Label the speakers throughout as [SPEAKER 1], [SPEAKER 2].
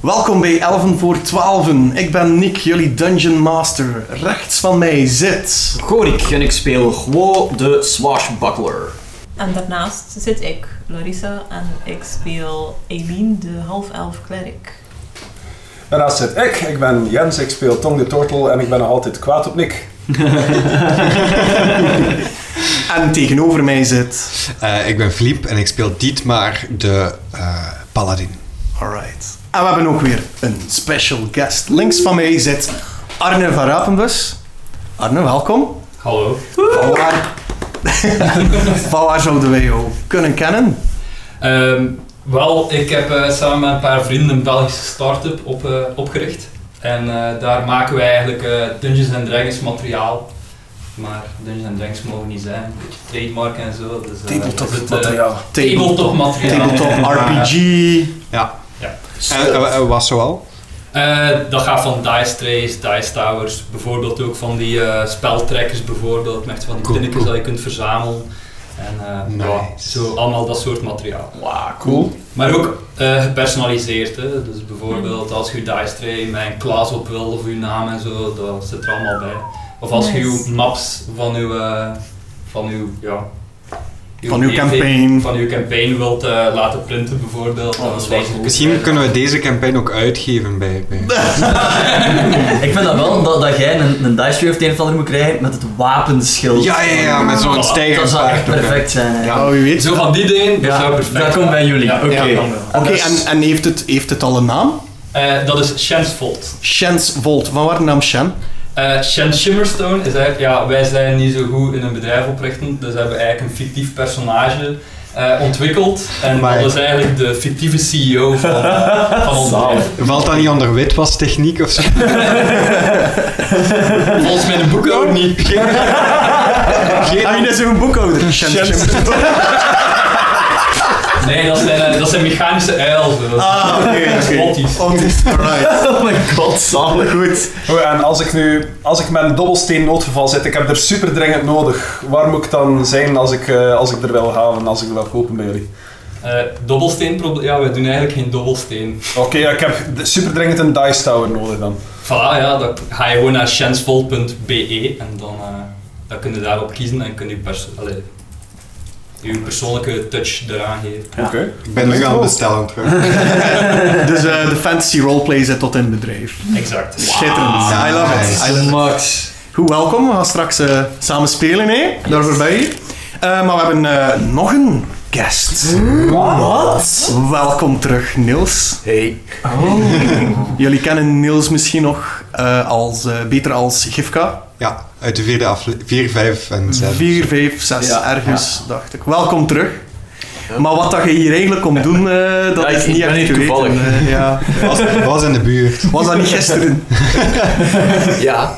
[SPEAKER 1] Welkom bij Elven voor Twaalfen. Ik ben Nick, jullie Dungeon Master. Rechts van mij zit...
[SPEAKER 2] Gorik en ik speel Guo de Swashbuckler.
[SPEAKER 3] En daarnaast zit ik, Larissa, en ik speel Eileen, de half-elf klerk.
[SPEAKER 4] Daarnaast zit ik, ik ben Jens, ik speel Tong de Tortel en ik ben nog altijd kwaad op Nick.
[SPEAKER 1] En tegenover mij zit...
[SPEAKER 5] Eh, ik ben Philippe en ik speel Dietmar de eh, paladin.
[SPEAKER 1] Alright. En we hebben ook weer een special guest. Links van mij zit Arne van Rapenbus. Arne, welkom.
[SPEAKER 6] Hallo.
[SPEAKER 1] Vanwaar... Vanwaar zouden wij jou kunnen kennen?
[SPEAKER 6] Ehm, wel, ik heb eh, samen met een paar vrienden een Belgische start-up op, eh, opgericht. En eh, daar maken we eigenlijk eh, Dungeons and Dragons materiaal. Maar Dungeons and Dragons mogen niet zijn. Een beetje trademark en zo. Dus, eh,
[SPEAKER 4] Tabletop
[SPEAKER 6] is het, eh,
[SPEAKER 4] materiaal.
[SPEAKER 6] Tabletop materiaal. Eh,
[SPEAKER 1] Tabletop RPG.
[SPEAKER 5] Ja.
[SPEAKER 6] Ja.
[SPEAKER 5] En eh, eh, wat zoal?
[SPEAKER 6] Eh, dat gaat van Dice Trays, Dice Towers, bijvoorbeeld ook van die eh, speltrekkers bijvoorbeeld. Met van die
[SPEAKER 5] Cool,
[SPEAKER 6] pinnetjes
[SPEAKER 5] cool.
[SPEAKER 6] dat je kunt verzamelen. En eh, ja,
[SPEAKER 5] Nice.
[SPEAKER 6] zo allemaal dat soort materiaal.
[SPEAKER 1] Wauw, cool.
[SPEAKER 6] Maar ook eh, gepersonaliseerd. Hè? Dus bijvoorbeeld als je dice tray met een klas op wil of uw naam en zo, dat zit er allemaal bij. Of als je
[SPEAKER 3] Nice.
[SPEAKER 6] uw maps van uw, eh, van uw, ja,
[SPEAKER 1] Van uw campaign.
[SPEAKER 6] van uw campaign wilt eh, laten printen bijvoorbeeld.
[SPEAKER 1] Oh,
[SPEAKER 6] dan
[SPEAKER 1] dat is
[SPEAKER 6] lees eh,
[SPEAKER 1] wel
[SPEAKER 6] je-
[SPEAKER 1] goed.
[SPEAKER 5] Misschien kunnen we deze campaign ook uitgeven bij... bij...
[SPEAKER 7] Ik vind dat wel dat, dat jij een, een dice tray of het een of ander moet krijgen met het wapenschild.
[SPEAKER 5] Ja, ja, ja, met zo'n
[SPEAKER 6] Dat
[SPEAKER 7] Dat
[SPEAKER 5] stijgerpaard.
[SPEAKER 7] zou echt
[SPEAKER 5] erbij.
[SPEAKER 7] perfect zijn. hè.
[SPEAKER 1] Ja, Oh, wie weet.
[SPEAKER 6] Zo van die dingen, dat
[SPEAKER 7] Ja,
[SPEAKER 6] zou perfect
[SPEAKER 7] dat komt bij jullie. Oké.
[SPEAKER 6] dat kan wel.
[SPEAKER 1] Oké, en, en heeft, het, heeft het al een naam?
[SPEAKER 6] Eh, dat is Shensvolt.
[SPEAKER 1] Shens Volt. Van waar de naam Shen?
[SPEAKER 6] Eh Shen Shimmerstone is eigenlijk, ja, wij zijn niet zo goed in een bedrijf oprichten, dus hebben we eigenlijk een fictief personage eh, ontwikkeld. En
[SPEAKER 5] Amai.
[SPEAKER 6] dat is eigenlijk de fictieve CEO van, eh, van ons bedrijf.
[SPEAKER 5] Oh. Valt dat niet onder witwastechniek of zo?
[SPEAKER 6] Volgens mijn boek ook niet.
[SPEAKER 1] I mean, dat is een boekhouder. Shen. Shen.
[SPEAKER 6] Nee, dat zijn, eh, dat zijn mechanische uilen. Dat zijn
[SPEAKER 1] Ah, oké. oké.
[SPEAKER 6] roties.
[SPEAKER 1] Autis. Alright.
[SPEAKER 7] Oh my god, zalig.
[SPEAKER 1] Goed.
[SPEAKER 4] Oh, en als ik nu, als ik met een dobbelsteen noodgeval zit, ik heb er super dringend nodig. Waar moet ik dan zijn als ik, eh, als ik er wil halen en als ik er wil kopen bij jullie?
[SPEAKER 6] Eh, dobbelsteenprobleem, ja, wij doen eigenlijk geen dobbelsteen.
[SPEAKER 4] Oké, ja, ik heb d- super dringend een dice tower nodig dan.
[SPEAKER 6] Voilà, ja, dan ga je gewoon naar shensvolt.be en dan, eh, dan kun je daarop kiezen en kun je pers allee, je persoonlijke touch eraan geven.
[SPEAKER 4] Oké.
[SPEAKER 5] Ik ben nu aan het bestellen. aan het worden.
[SPEAKER 1] Dus eh, de fantasy roleplay zit tot in het bedrijf.
[SPEAKER 6] Exact.
[SPEAKER 1] Schitterend. I love it.
[SPEAKER 5] Nice.
[SPEAKER 1] I love it.
[SPEAKER 7] Max.
[SPEAKER 1] Goed, welkom. We gaan straks eh, samen spelen, hè? Daar voorbij. Eh, maar we hebben eh, nog een guest.
[SPEAKER 7] Wat? Oh.
[SPEAKER 1] Welkom terug, Niels.
[SPEAKER 7] Hey.
[SPEAKER 1] Jullie kennen Niels misschien nog eh, als, eh, beter als Gifka.
[SPEAKER 5] Ja, uit de vierde aflevering. Vier, vijf en zes.
[SPEAKER 1] 4, 5, 6,
[SPEAKER 7] Ja,
[SPEAKER 1] ergens, dacht ik. Welkom terug. Maar wat dat je hier eigenlijk komt doen, eh, dat
[SPEAKER 7] Ja, ik-
[SPEAKER 1] is
[SPEAKER 7] ik
[SPEAKER 1] niet
[SPEAKER 7] ben
[SPEAKER 1] echt
[SPEAKER 7] hier
[SPEAKER 1] te weten,
[SPEAKER 7] toevallig.
[SPEAKER 1] eh, ja.
[SPEAKER 5] Was, was in de buurt.
[SPEAKER 1] Was dat niet gisteren?
[SPEAKER 7] Ja.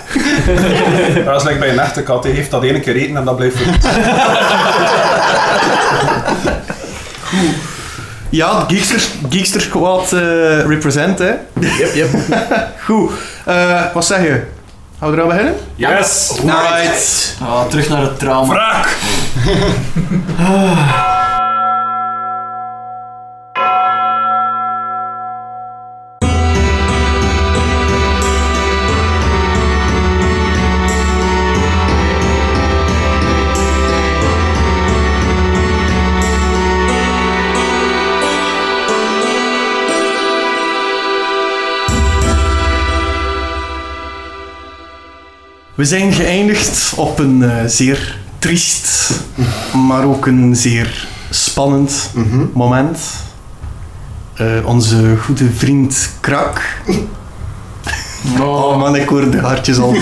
[SPEAKER 4] Maar als ik bij een echte kat, die heeft dat ene keer eten en dat blijft voor
[SPEAKER 1] Ja, het Geekster, Geekster Squad eh, represent, hè.
[SPEAKER 7] Yep, yep.
[SPEAKER 1] Goed. Eh, wat zeg je? Gaan we eraan beginnen?
[SPEAKER 4] Yes!
[SPEAKER 1] Alright.
[SPEAKER 7] Oh, terug naar het trauma.
[SPEAKER 4] Wraak!
[SPEAKER 1] We zijn geëindigd op een eh, zeer triest, maar ook een zeer spannend
[SPEAKER 5] Mhm.
[SPEAKER 1] moment. Eh, onze goede vriend Krak. Oh man, ik hoor de hartjes al.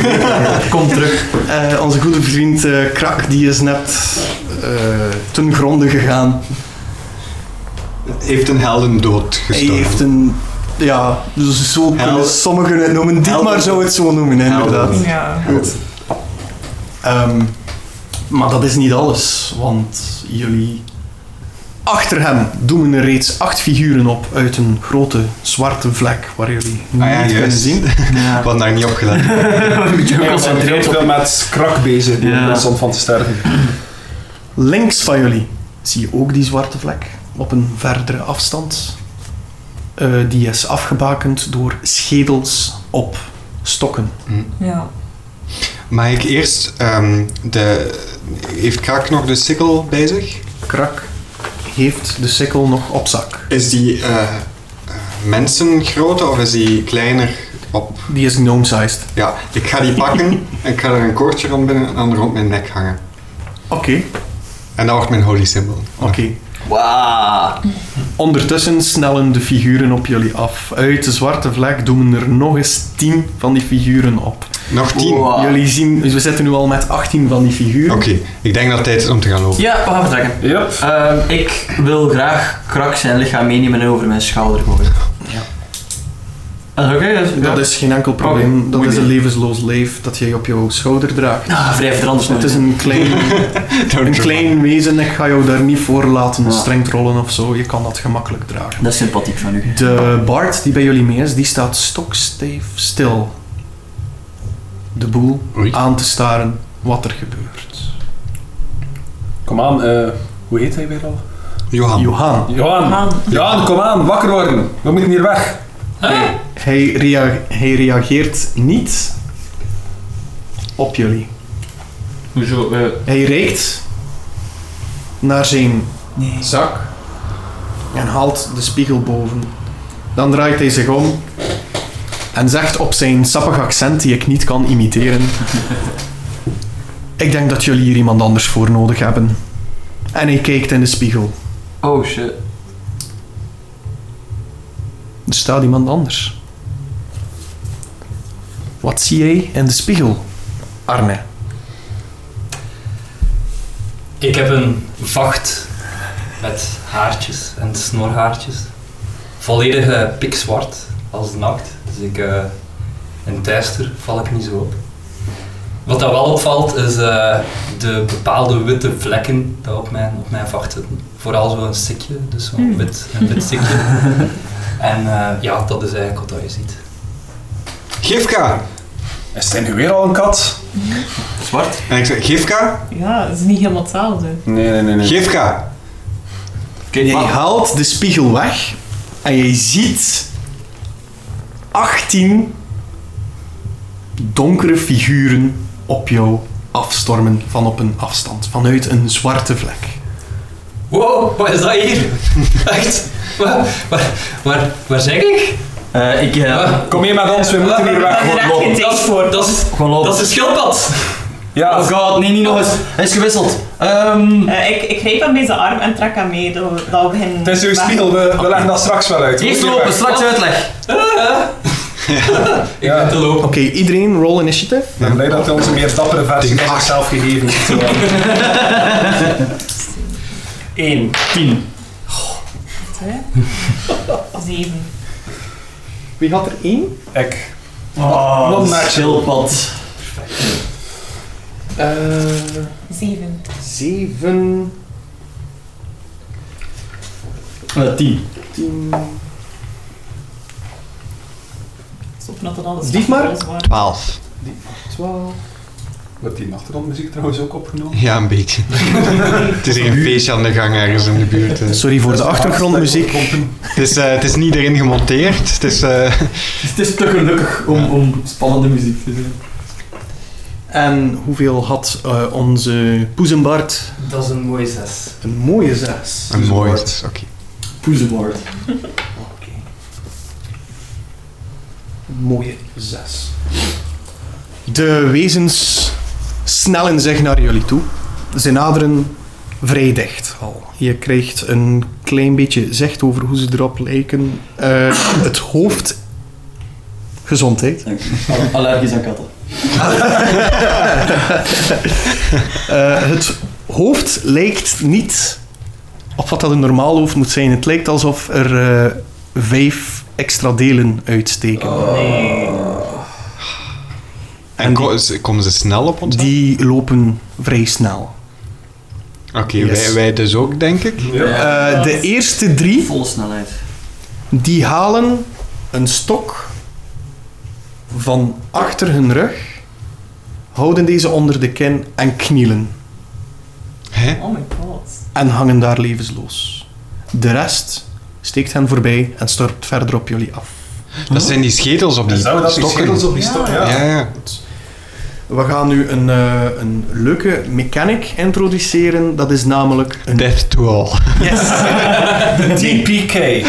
[SPEAKER 7] Kom terug.
[SPEAKER 1] Eh, onze goede vriend eh, Krak die is net eh, ten gronde gegaan.
[SPEAKER 5] Heeft een helden dood gestorven.
[SPEAKER 1] Hij heeft een. Ja, dus zo kunnen
[SPEAKER 5] Helden.
[SPEAKER 1] sommigen het noemen. Dietmar
[SPEAKER 5] Helden.
[SPEAKER 1] zou het zo noemen, hè,
[SPEAKER 5] Helden.
[SPEAKER 1] inderdaad.
[SPEAKER 3] Ja.
[SPEAKER 1] Goed. Ehm, maar dat is niet alles, want jullie. Achter hem doemen er reeds acht figuren op uit een grote zwarte vlek waar jullie niet
[SPEAKER 5] Ah ja,
[SPEAKER 1] kunnen
[SPEAKER 5] juist.
[SPEAKER 1] zien.
[SPEAKER 7] Ja.
[SPEAKER 5] Ik had daar niet op gelet.
[SPEAKER 7] Moet je ook
[SPEAKER 4] Ik ben heel
[SPEAKER 7] concentreren op
[SPEAKER 4] veel met krak bezig, die
[SPEAKER 7] Ja.
[SPEAKER 4] ja. van te sterven.
[SPEAKER 1] Links van jullie zie je ook die zwarte vlek op een verdere afstand. eh, die is afgebakend door schedels op stokken.
[SPEAKER 3] Ja.
[SPEAKER 5] Mag ik eerst ehm, de... Heeft Krak nog de sikkel bezig?
[SPEAKER 1] Krak heeft de sikkel nog op zak.
[SPEAKER 5] Is die eh, eh, mensengrootte of is die kleiner op?
[SPEAKER 1] Die is gnome-sized.
[SPEAKER 5] Ja, ik ga die pakken en ik ga er een koordje rond binnen en dan rond mijn nek hangen.
[SPEAKER 1] Oké,
[SPEAKER 5] En dat wordt mijn holy symbol.
[SPEAKER 1] oké.
[SPEAKER 7] Wauw.
[SPEAKER 1] Ondertussen snellen de figuren op jullie af. Uit de zwarte vlek doen er nog eens 10 van die figuren op.
[SPEAKER 5] Nog tien.
[SPEAKER 7] Wow.
[SPEAKER 1] Jullie zien, dus we zitten nu al met 18 van die figuren.
[SPEAKER 5] Oké, ik denk dat het tijd is om te gaan lopen.
[SPEAKER 7] Ja, we gaan vertrekken.
[SPEAKER 4] Yep.
[SPEAKER 7] Ehm, ik wil graag Krak zijn lichaam meenemen en over mijn schouder gooien.
[SPEAKER 1] Ja.
[SPEAKER 7] Dat is oké? dus- dat is-
[SPEAKER 1] Dat is geen enkel probleem.
[SPEAKER 7] Oké,
[SPEAKER 1] dat
[SPEAKER 7] goed
[SPEAKER 1] is een
[SPEAKER 7] idee.
[SPEAKER 1] levensloos leef dat jij op jouw schouder draagt.
[SPEAKER 7] Ah, wrijf er anders nog
[SPEAKER 1] Het is
[SPEAKER 7] in.
[SPEAKER 1] een klein,
[SPEAKER 5] Don't
[SPEAKER 1] een
[SPEAKER 5] you-
[SPEAKER 1] klein wezen, ik ga jou daar niet voor laten
[SPEAKER 7] Ja.
[SPEAKER 1] strengt rollen of zo. Je kan dat gemakkelijk dragen.
[SPEAKER 7] Dat is sympathiek van u.
[SPEAKER 1] De Bart die bij jullie mee is, die staat stokstijf stil. De boel
[SPEAKER 5] Oei.
[SPEAKER 1] aan te staren wat er gebeurt.
[SPEAKER 4] Kom aan, eh, hoe heet hij weer al?
[SPEAKER 5] Johan.
[SPEAKER 1] Johan,
[SPEAKER 4] Johan.
[SPEAKER 3] Man.
[SPEAKER 4] Johan, kom aan, wakker worden. We moeten hier weg.
[SPEAKER 1] hij, rea- hij reageert niet op jullie.
[SPEAKER 6] Hoezo? eh,
[SPEAKER 1] Hij reikt naar zijn
[SPEAKER 7] Nee.
[SPEAKER 1] zak en haalt de spiegel boven. Dan draait hij zich om en zegt op zijn sappig accent, die ik niet kan imiteren: Ik denk dat jullie hier iemand anders voor nodig hebben. En hij kijkt in de spiegel.
[SPEAKER 7] Oh shit.
[SPEAKER 1] Er staat iemand anders. Wat zie jij in de spiegel, Arne?
[SPEAKER 6] ik heb een vacht met haartjes en snorhaartjes. Volledig eh, pikzwart als de nacht. Dus ik, eh, in het duister val ik niet zo op. Wat dat wel opvalt is eh, de bepaalde witte vlekken die op mijn, op mijn vacht zitten. Vooral zo'n stikje, dus zo'n
[SPEAKER 3] Hmm.
[SPEAKER 6] wit, een wit stikje. en eh, ja, dat is eigenlijk wat dat je ziet.
[SPEAKER 5] Gifka!
[SPEAKER 4] Is hij nu weer al een kat?
[SPEAKER 7] Zwart?
[SPEAKER 5] En ik zeg, Gifka?
[SPEAKER 3] Ja, het is niet helemaal hetzelfde.
[SPEAKER 4] Nee, nee, nee. nee.
[SPEAKER 5] Gifka!
[SPEAKER 7] Oké,
[SPEAKER 1] Jij
[SPEAKER 7] maar-
[SPEAKER 1] haalt de spiegel weg en jij ziet 18 donkere figuren op jou afstormen van op een afstand, vanuit een zwarte vlek.
[SPEAKER 6] Wow, wat is dat hier? Echt? Waar, waar, waar, waar zeg ik?
[SPEAKER 7] Eh, ik... eh,
[SPEAKER 6] Ah,
[SPEAKER 4] Kom hier met ons, we moeten hier weg.
[SPEAKER 3] Daar heb je geen
[SPEAKER 6] Dat is,
[SPEAKER 3] tekst voor.
[SPEAKER 6] dat, is,
[SPEAKER 7] gewoon lopen.
[SPEAKER 6] dat is een schildpad.
[SPEAKER 4] Ja,
[SPEAKER 7] Oh god, nee, niet nog eens. Hij is gewisseld. Ehm
[SPEAKER 3] Eh, ik, ik grijp hem bij zijn arm en trek hem mee. Dat we, dat we beginnen...
[SPEAKER 4] het is uw
[SPEAKER 3] weg-
[SPEAKER 4] spiegel, we, we leggen dat straks wel uit. We
[SPEAKER 7] eerst
[SPEAKER 4] moeten hier
[SPEAKER 7] lopen,
[SPEAKER 4] weg.
[SPEAKER 7] straks uitleg.
[SPEAKER 6] Ik ben te lopen.
[SPEAKER 1] Oké, iedereen roll initiative.
[SPEAKER 4] Ik ben blij dat hij ons een meer dappere versie van zichzelf gegeven heeft. Eén.
[SPEAKER 3] Hè? Zeven.
[SPEAKER 1] Wie had er één?
[SPEAKER 4] Ik.
[SPEAKER 7] Oh,
[SPEAKER 4] dat is
[SPEAKER 7] schildpad.
[SPEAKER 3] Zeven.
[SPEAKER 1] Eh, zeven,
[SPEAKER 7] tien.
[SPEAKER 1] tien...
[SPEAKER 3] Stop dat dat alles
[SPEAKER 1] Dief maar.
[SPEAKER 3] voor ons waren.
[SPEAKER 5] Twaalf.
[SPEAKER 1] twaalf...
[SPEAKER 4] Wordt die achtergrondmuziek trouwens ook opgenomen?
[SPEAKER 5] Ja, een beetje. het is hier een feestje aan de gang ergens in de buurt. eh.
[SPEAKER 1] Sorry voor de achtergrondmuziek.
[SPEAKER 5] Het is, eh, het is niet erin gemonteerd. Het is, eh,
[SPEAKER 7] Het is te gelukkig om, om spannende muziek te doen.
[SPEAKER 1] En hoeveel had eh, onze Poezenbart?
[SPEAKER 6] Dat is een mooie zes.
[SPEAKER 1] Een mooie zes.
[SPEAKER 5] een mooi. het is Oké.
[SPEAKER 7] Poezeboard.
[SPEAKER 1] mooie zes. De wezens snellen zich naar jullie toe. Ze naderen vrij dicht al. Je krijgt een klein beetje zicht over hoe ze erop lijken. Eh, het hoofd... Gezondheid.
[SPEAKER 7] Oh, Allergisch aan katten.
[SPEAKER 1] Eh, het hoofd lijkt niet op wat dat een normaal hoofd moet zijn. Het lijkt alsof er eh, vijf extra delen uitsteken.
[SPEAKER 5] En ko- ze- komen ze snel op ons? af?
[SPEAKER 1] Die lopen vrij snel.
[SPEAKER 5] Oké,
[SPEAKER 1] Yes.
[SPEAKER 5] wij, wij dus ook, denk ik.
[SPEAKER 4] Ja.
[SPEAKER 1] Eh, de eerste drie
[SPEAKER 7] Volle snelheid.
[SPEAKER 1] Die halen een stok van achter hun rug, houden deze onder de kin en knielen.
[SPEAKER 5] Hè?
[SPEAKER 3] Oh my god.
[SPEAKER 1] En hangen daar levensloos. De rest steekt hen voorbij en stort verder op jullie af.
[SPEAKER 5] Dat zijn die schedels op die
[SPEAKER 4] Zouden Dus dat die
[SPEAKER 5] stokken.
[SPEAKER 4] schedels op die stok? Ja.
[SPEAKER 5] Ja, ja.
[SPEAKER 1] We gaan nu een, eh, een leuke mechanic introduceren. Dat is namelijk een
[SPEAKER 5] Death Tool.
[SPEAKER 1] Yes.
[SPEAKER 4] TPK.
[SPEAKER 1] Nee.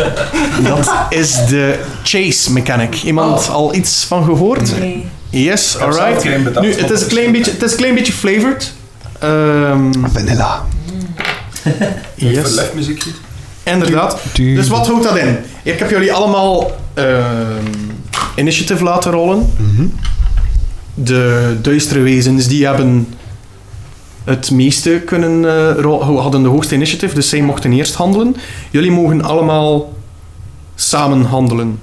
[SPEAKER 1] Dat is de chase mechanic. Iemand al iets van gehoord?
[SPEAKER 3] Nee.
[SPEAKER 1] Yes,
[SPEAKER 4] heb zelf
[SPEAKER 1] alright.
[SPEAKER 4] geen bedacht.
[SPEAKER 1] Nu, het is een klein beetje, het is een klein beetje flavored. Ehm,
[SPEAKER 5] Vanilla.
[SPEAKER 1] yes.
[SPEAKER 4] Verlefmuziekje.
[SPEAKER 1] Inderdaad.
[SPEAKER 5] Du-
[SPEAKER 1] Dus wat houdt dat in? Ik heb jullie allemaal ehm initiative laten rollen.
[SPEAKER 5] Mhm.
[SPEAKER 1] De duistere wezens die hebben het meeste kunnen eh, ro- hadden de hoogste initiative, dus zij mochten eerst handelen. Jullie mogen allemaal samen handelen.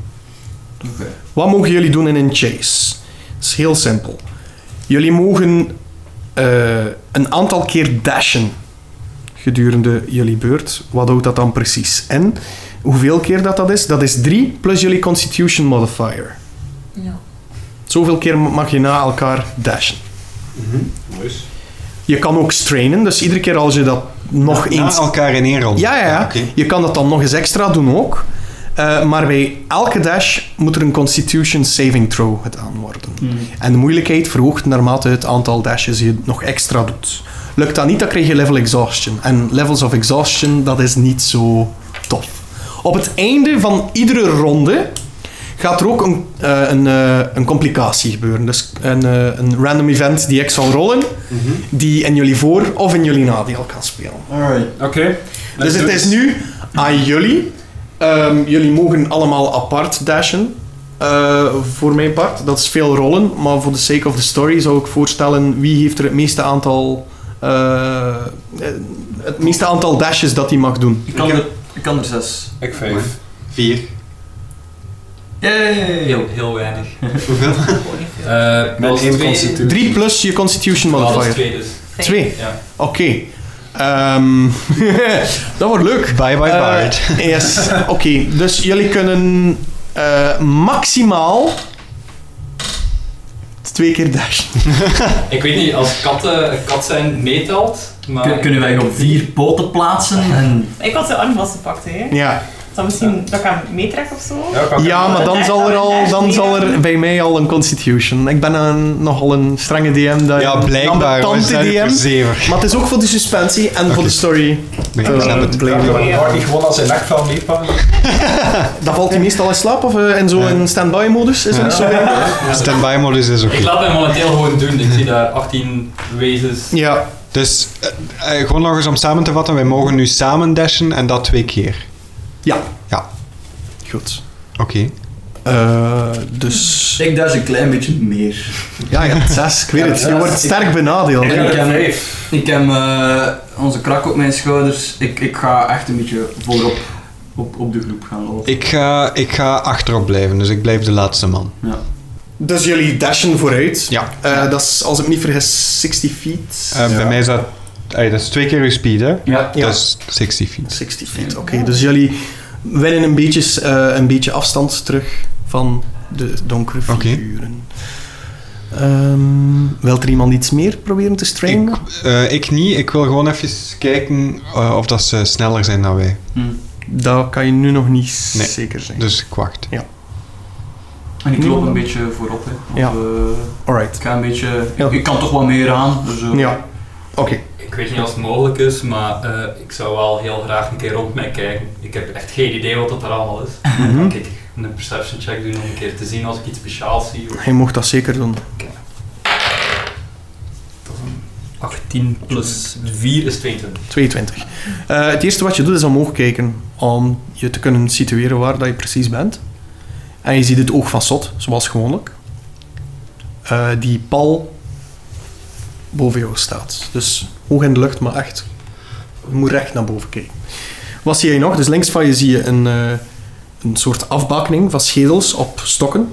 [SPEAKER 6] Oké.
[SPEAKER 1] Wat mogen jullie doen in een chase? Dat is heel simpel. Jullie mogen eh, een aantal keer dashen gedurende jullie beurt. Wat houdt dat dan precies? En hoeveel keer dat dat is? Dat is 3 plus jullie constitution modifier.
[SPEAKER 3] Ja.
[SPEAKER 1] Zoveel keer mag je na elkaar dashen.
[SPEAKER 5] Mhm.
[SPEAKER 4] Nice.
[SPEAKER 1] Je kan ook strainen, dus iedere keer als je dat nog
[SPEAKER 5] Na
[SPEAKER 1] eens...
[SPEAKER 5] elkaar in één rol.
[SPEAKER 1] Ja, ja, ja.
[SPEAKER 5] Oké.
[SPEAKER 1] Je kan dat dan nog eens extra doen ook. Eh, maar bij elke dash moet er een constitution saving throw gedaan worden. En de moeilijkheid verhoogt naarmate het aantal dashes je nog extra doet. Lukt dat niet, dan krijg je level exhaustion. En levels of exhaustion, dat is niet zo tof. Op het einde van iedere ronde gaat er ook een, eh, een, eh, een complicatie gebeuren. Dus een, eh, een random event die ik zal rollen, die in jullie voor- of in jullie nadeel kan spelen.
[SPEAKER 2] Alright.
[SPEAKER 4] Oké.
[SPEAKER 1] Dus
[SPEAKER 4] Let's
[SPEAKER 1] het
[SPEAKER 4] do
[SPEAKER 1] is
[SPEAKER 4] it.
[SPEAKER 1] nu aan jullie. Ehm, jullie mogen allemaal apart dashen. eh, voor mijn part. Dat is veel rollen. Maar voor the sake of the story zou ik voorstellen wie heeft er het meeste aantal. eh, eh, het meeste aantal dashes dat hij mag doen.
[SPEAKER 7] Ik kan, er, ik kan er zes.
[SPEAKER 4] Ik vijf.
[SPEAKER 5] Vier.
[SPEAKER 6] Heel, heel weinig.
[SPEAKER 5] Hoeveel?
[SPEAKER 3] Gewoon niet veel.
[SPEAKER 6] Eh
[SPEAKER 4] Met
[SPEAKER 6] plus
[SPEAKER 4] één
[SPEAKER 6] twee.
[SPEAKER 4] constitutie.
[SPEAKER 1] 3 plus je constitution
[SPEAKER 6] Ja, dat is
[SPEAKER 1] modifier.
[SPEAKER 6] twee dus.
[SPEAKER 3] Vijf.
[SPEAKER 1] Twee.
[SPEAKER 6] Ja.
[SPEAKER 1] Oké. Ehm, dat wordt leuk.
[SPEAKER 5] Bye bye
[SPEAKER 1] Eh,
[SPEAKER 5] Bart.
[SPEAKER 1] Yes, oké. Dus jullie kunnen eh, maximaal twee keer dashen.
[SPEAKER 6] Ik weet niet, als katten een kat zijn meetelt, maar...
[SPEAKER 7] Kun- kunnen wij op vier poten plaatsen Ah. en...
[SPEAKER 3] Ik had zijn arm vastgepakt, hè.
[SPEAKER 1] Ja,
[SPEAKER 3] Zou misschien dat ik hem meetrek of zo?
[SPEAKER 4] Ja, ik had-
[SPEAKER 1] ja maar dan zal, er al, dan zal er bij mij al een constitution. Ik ben een, nogal een strenge DM. Dat
[SPEAKER 5] Ja, blijkbaar.
[SPEAKER 1] Een
[SPEAKER 5] We
[SPEAKER 1] ambetante
[SPEAKER 5] zijn er
[SPEAKER 1] DM.
[SPEAKER 5] zeven.
[SPEAKER 1] Maar het is ook voor de suspensie en voor
[SPEAKER 5] Oké.
[SPEAKER 1] de story.
[SPEAKER 5] Nee,
[SPEAKER 1] Eh,
[SPEAKER 5] ik snap het.
[SPEAKER 1] blijven.
[SPEAKER 4] Ja, maar Bart niet gewoon als zijn nekvel meepakken.
[SPEAKER 1] Dat valt hij meestal in slaap of eh, in zo'n standby modus? Is dat
[SPEAKER 5] Ja.
[SPEAKER 1] niet zo?
[SPEAKER 5] Standby modus is oké.
[SPEAKER 6] Ik laat hem momenteel gewoon doen. Ik zie daar 18 wezens.
[SPEAKER 1] Ja,
[SPEAKER 5] Dus eh, eh, gewoon nog eens om samen te vatten. Wij mogen nu samen dashen en dat twee keer.
[SPEAKER 1] Ja.
[SPEAKER 5] Ja,
[SPEAKER 1] goed.
[SPEAKER 5] oké.
[SPEAKER 1] Eh, dus...
[SPEAKER 7] Ik daar een klein beetje meer.
[SPEAKER 1] Ja, je hebt zes. Ik weet het. Je wordt sterk benadeeld.
[SPEAKER 7] Ik
[SPEAKER 2] Ik
[SPEAKER 7] heb-
[SPEAKER 2] heb vijf.
[SPEAKER 7] Ik heb eh, onze krak op mijn schouders. Ik, ik ga echt een beetje voorop op, op de groep gaan lopen.
[SPEAKER 5] Ik ga, ik ga achterop blijven, dus ik blijf de laatste man.
[SPEAKER 1] Dus jullie dashen vooruit.
[SPEAKER 5] Ja.
[SPEAKER 1] Eh, dat is, als ik me niet vergis, 60 feet.
[SPEAKER 5] Eh, Bij mij is dat... ey, dat is twee keer uw speed, hè?
[SPEAKER 7] Ja.
[SPEAKER 1] Ja.
[SPEAKER 5] Dat is 60 feet.
[SPEAKER 1] 60 feet, oké. Dus jullie winnen een beetje, eh, een beetje afstand terug van de donkere
[SPEAKER 5] Oké.
[SPEAKER 1] figuren. Ehm, wilt er iemand iets meer proberen te strainen?
[SPEAKER 5] Ik, eh, ik niet. Ik wil gewoon even kijken eh, of dat ze sneller zijn dan wij.
[SPEAKER 1] Dat kan je nu nog niet
[SPEAKER 5] Nee.
[SPEAKER 1] zeker zijn.
[SPEAKER 5] Dus ik wacht.
[SPEAKER 7] En ik loop een beetje voorop. Hè. Of,
[SPEAKER 1] Ja.
[SPEAKER 7] eh,
[SPEAKER 1] Alright.
[SPEAKER 7] ik ga een beetje...
[SPEAKER 1] Ja.
[SPEAKER 7] Ik, ik kan toch wat meer aan. Dus, eh,
[SPEAKER 1] Ja. Oké.
[SPEAKER 6] Ik weet niet of het mogelijk is, maar eh, ik zou wel heel graag een keer rond mij kijken. Ik heb echt geen idee wat dat er allemaal is.
[SPEAKER 4] Mhm.
[SPEAKER 1] Mhm.
[SPEAKER 6] Dan kan ik een perception check doen om een keer te zien als ik iets speciaals zie.
[SPEAKER 1] Hij mocht dat zeker doen.
[SPEAKER 6] 18 plus 4 is 22.
[SPEAKER 1] 22. Eh, het eerste wat je doet is omhoog kijken. Om je te kunnen situeren waar dat je precies bent. En je ziet het oog van Sot, zoals gewoonlijk. Eh, die pal boven jou staat. Dus hoog in de lucht, maar echt. Je moet recht naar boven kijken. Wat zie je nog? Dus links van je zie je een, eh, een soort afbakening van schedels op stokken.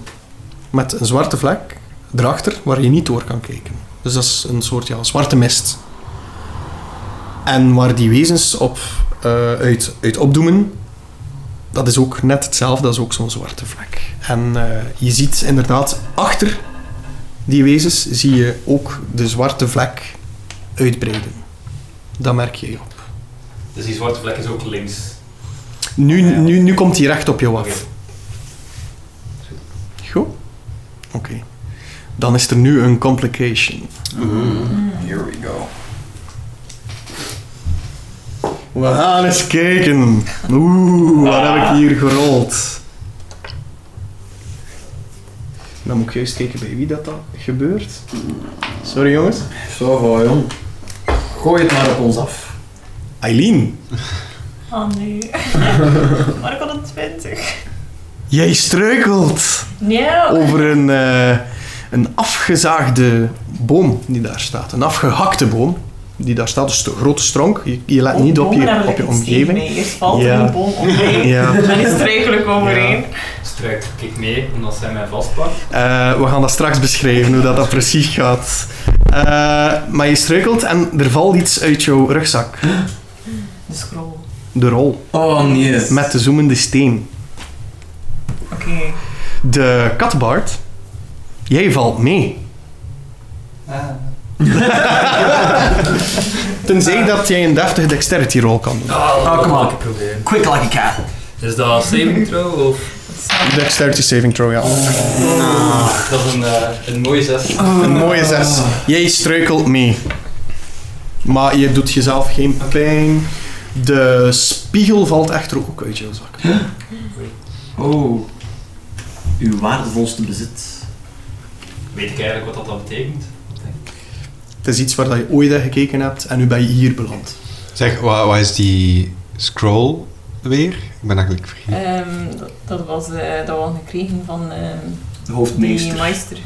[SPEAKER 1] Met een zwarte vlek erachter waar je niet door kan kijken. Dus dat is een soort ja, zwarte mist. En waar die wezens op, eh, uit, uit opdoemen, dat is ook net hetzelfde, dat is ook zo'n zwarte vlek. En eh, je ziet inderdaad achter die wezens zie je ook de zwarte vlek uitbreiden. Dat merk je op.
[SPEAKER 6] Dus die zwarte vlek is ook links.
[SPEAKER 1] Nu,
[SPEAKER 7] Ja.
[SPEAKER 1] nu, nu komt hij recht op jou af.
[SPEAKER 6] Oké.
[SPEAKER 1] Goed. Oké. Dan is er nu een complication.
[SPEAKER 7] Here we go.
[SPEAKER 1] We gaan eens kijken. Oeh, wat heb ik hier gerold? Dan moet ik juist kijken bij wie dat, dat gebeurt. Sorry jongens.
[SPEAKER 7] Zo van, jong. Gooi het maar op ons af.
[SPEAKER 1] Eileen,
[SPEAKER 3] Oh nee. maar ik had een 20.
[SPEAKER 1] jij struikelt
[SPEAKER 3] Nee.
[SPEAKER 1] over een, eh, een afgezaagde boom die daar staat. Een afgehakte boom die daar staat. Dus een grote stronk. Je, je let Ah, niet op
[SPEAKER 3] Bomen
[SPEAKER 1] je,
[SPEAKER 3] hebben
[SPEAKER 1] op je
[SPEAKER 3] iets
[SPEAKER 1] omgeving.
[SPEAKER 3] tegen mij. Eerst valt
[SPEAKER 1] Ja.
[SPEAKER 3] er een boom omheen.
[SPEAKER 1] Ja.
[SPEAKER 3] Dan is er eigenlijk overheen.
[SPEAKER 6] Struik ik mee, omdat zij mij vastpakt.
[SPEAKER 1] Eh, we gaan dat straks beschrijven, hoe dat, dat precies gaat. Eh, maar je struikelt en er valt iets uit jouw rugzak.
[SPEAKER 3] De scroll.
[SPEAKER 1] De rol.
[SPEAKER 7] Oh nee.
[SPEAKER 1] Met de zoemende steen.
[SPEAKER 3] Oké.
[SPEAKER 1] De katbaard. Jij valt mee.
[SPEAKER 6] Ah.
[SPEAKER 1] Tenzij dat jij een deftige dexterity rol kan doen.
[SPEAKER 6] Ah,
[SPEAKER 7] Ah,
[SPEAKER 6] dat
[SPEAKER 7] kom
[SPEAKER 6] wil
[SPEAKER 7] op.
[SPEAKER 6] ik proberen.
[SPEAKER 7] Quick like a cat.
[SPEAKER 6] Is dat saving throw of?
[SPEAKER 1] Dexterity saving throw, ja.
[SPEAKER 6] Dat is een, eh, een mooie zes.
[SPEAKER 1] Een mooie zes. Jij struikelt mee. Maar je doet jezelf geen pijn. De spiegel valt echter ook uit jouw zak.
[SPEAKER 7] Oh. Uw waardevolste bezit.
[SPEAKER 6] Weet ik eigenlijk wat dat dan betekent?
[SPEAKER 1] Het is iets waar dat je ooit naar gekeken hebt en nu ben je hier beland.
[SPEAKER 5] Zeg, wa- wat is die scroll weer? Ik ben eigenlijk vergeten.
[SPEAKER 3] Ehm, dat, dat was eh, dat we hadden gekregen van ehm,
[SPEAKER 7] De
[SPEAKER 3] die
[SPEAKER 7] hoofdmeester.
[SPEAKER 3] meister.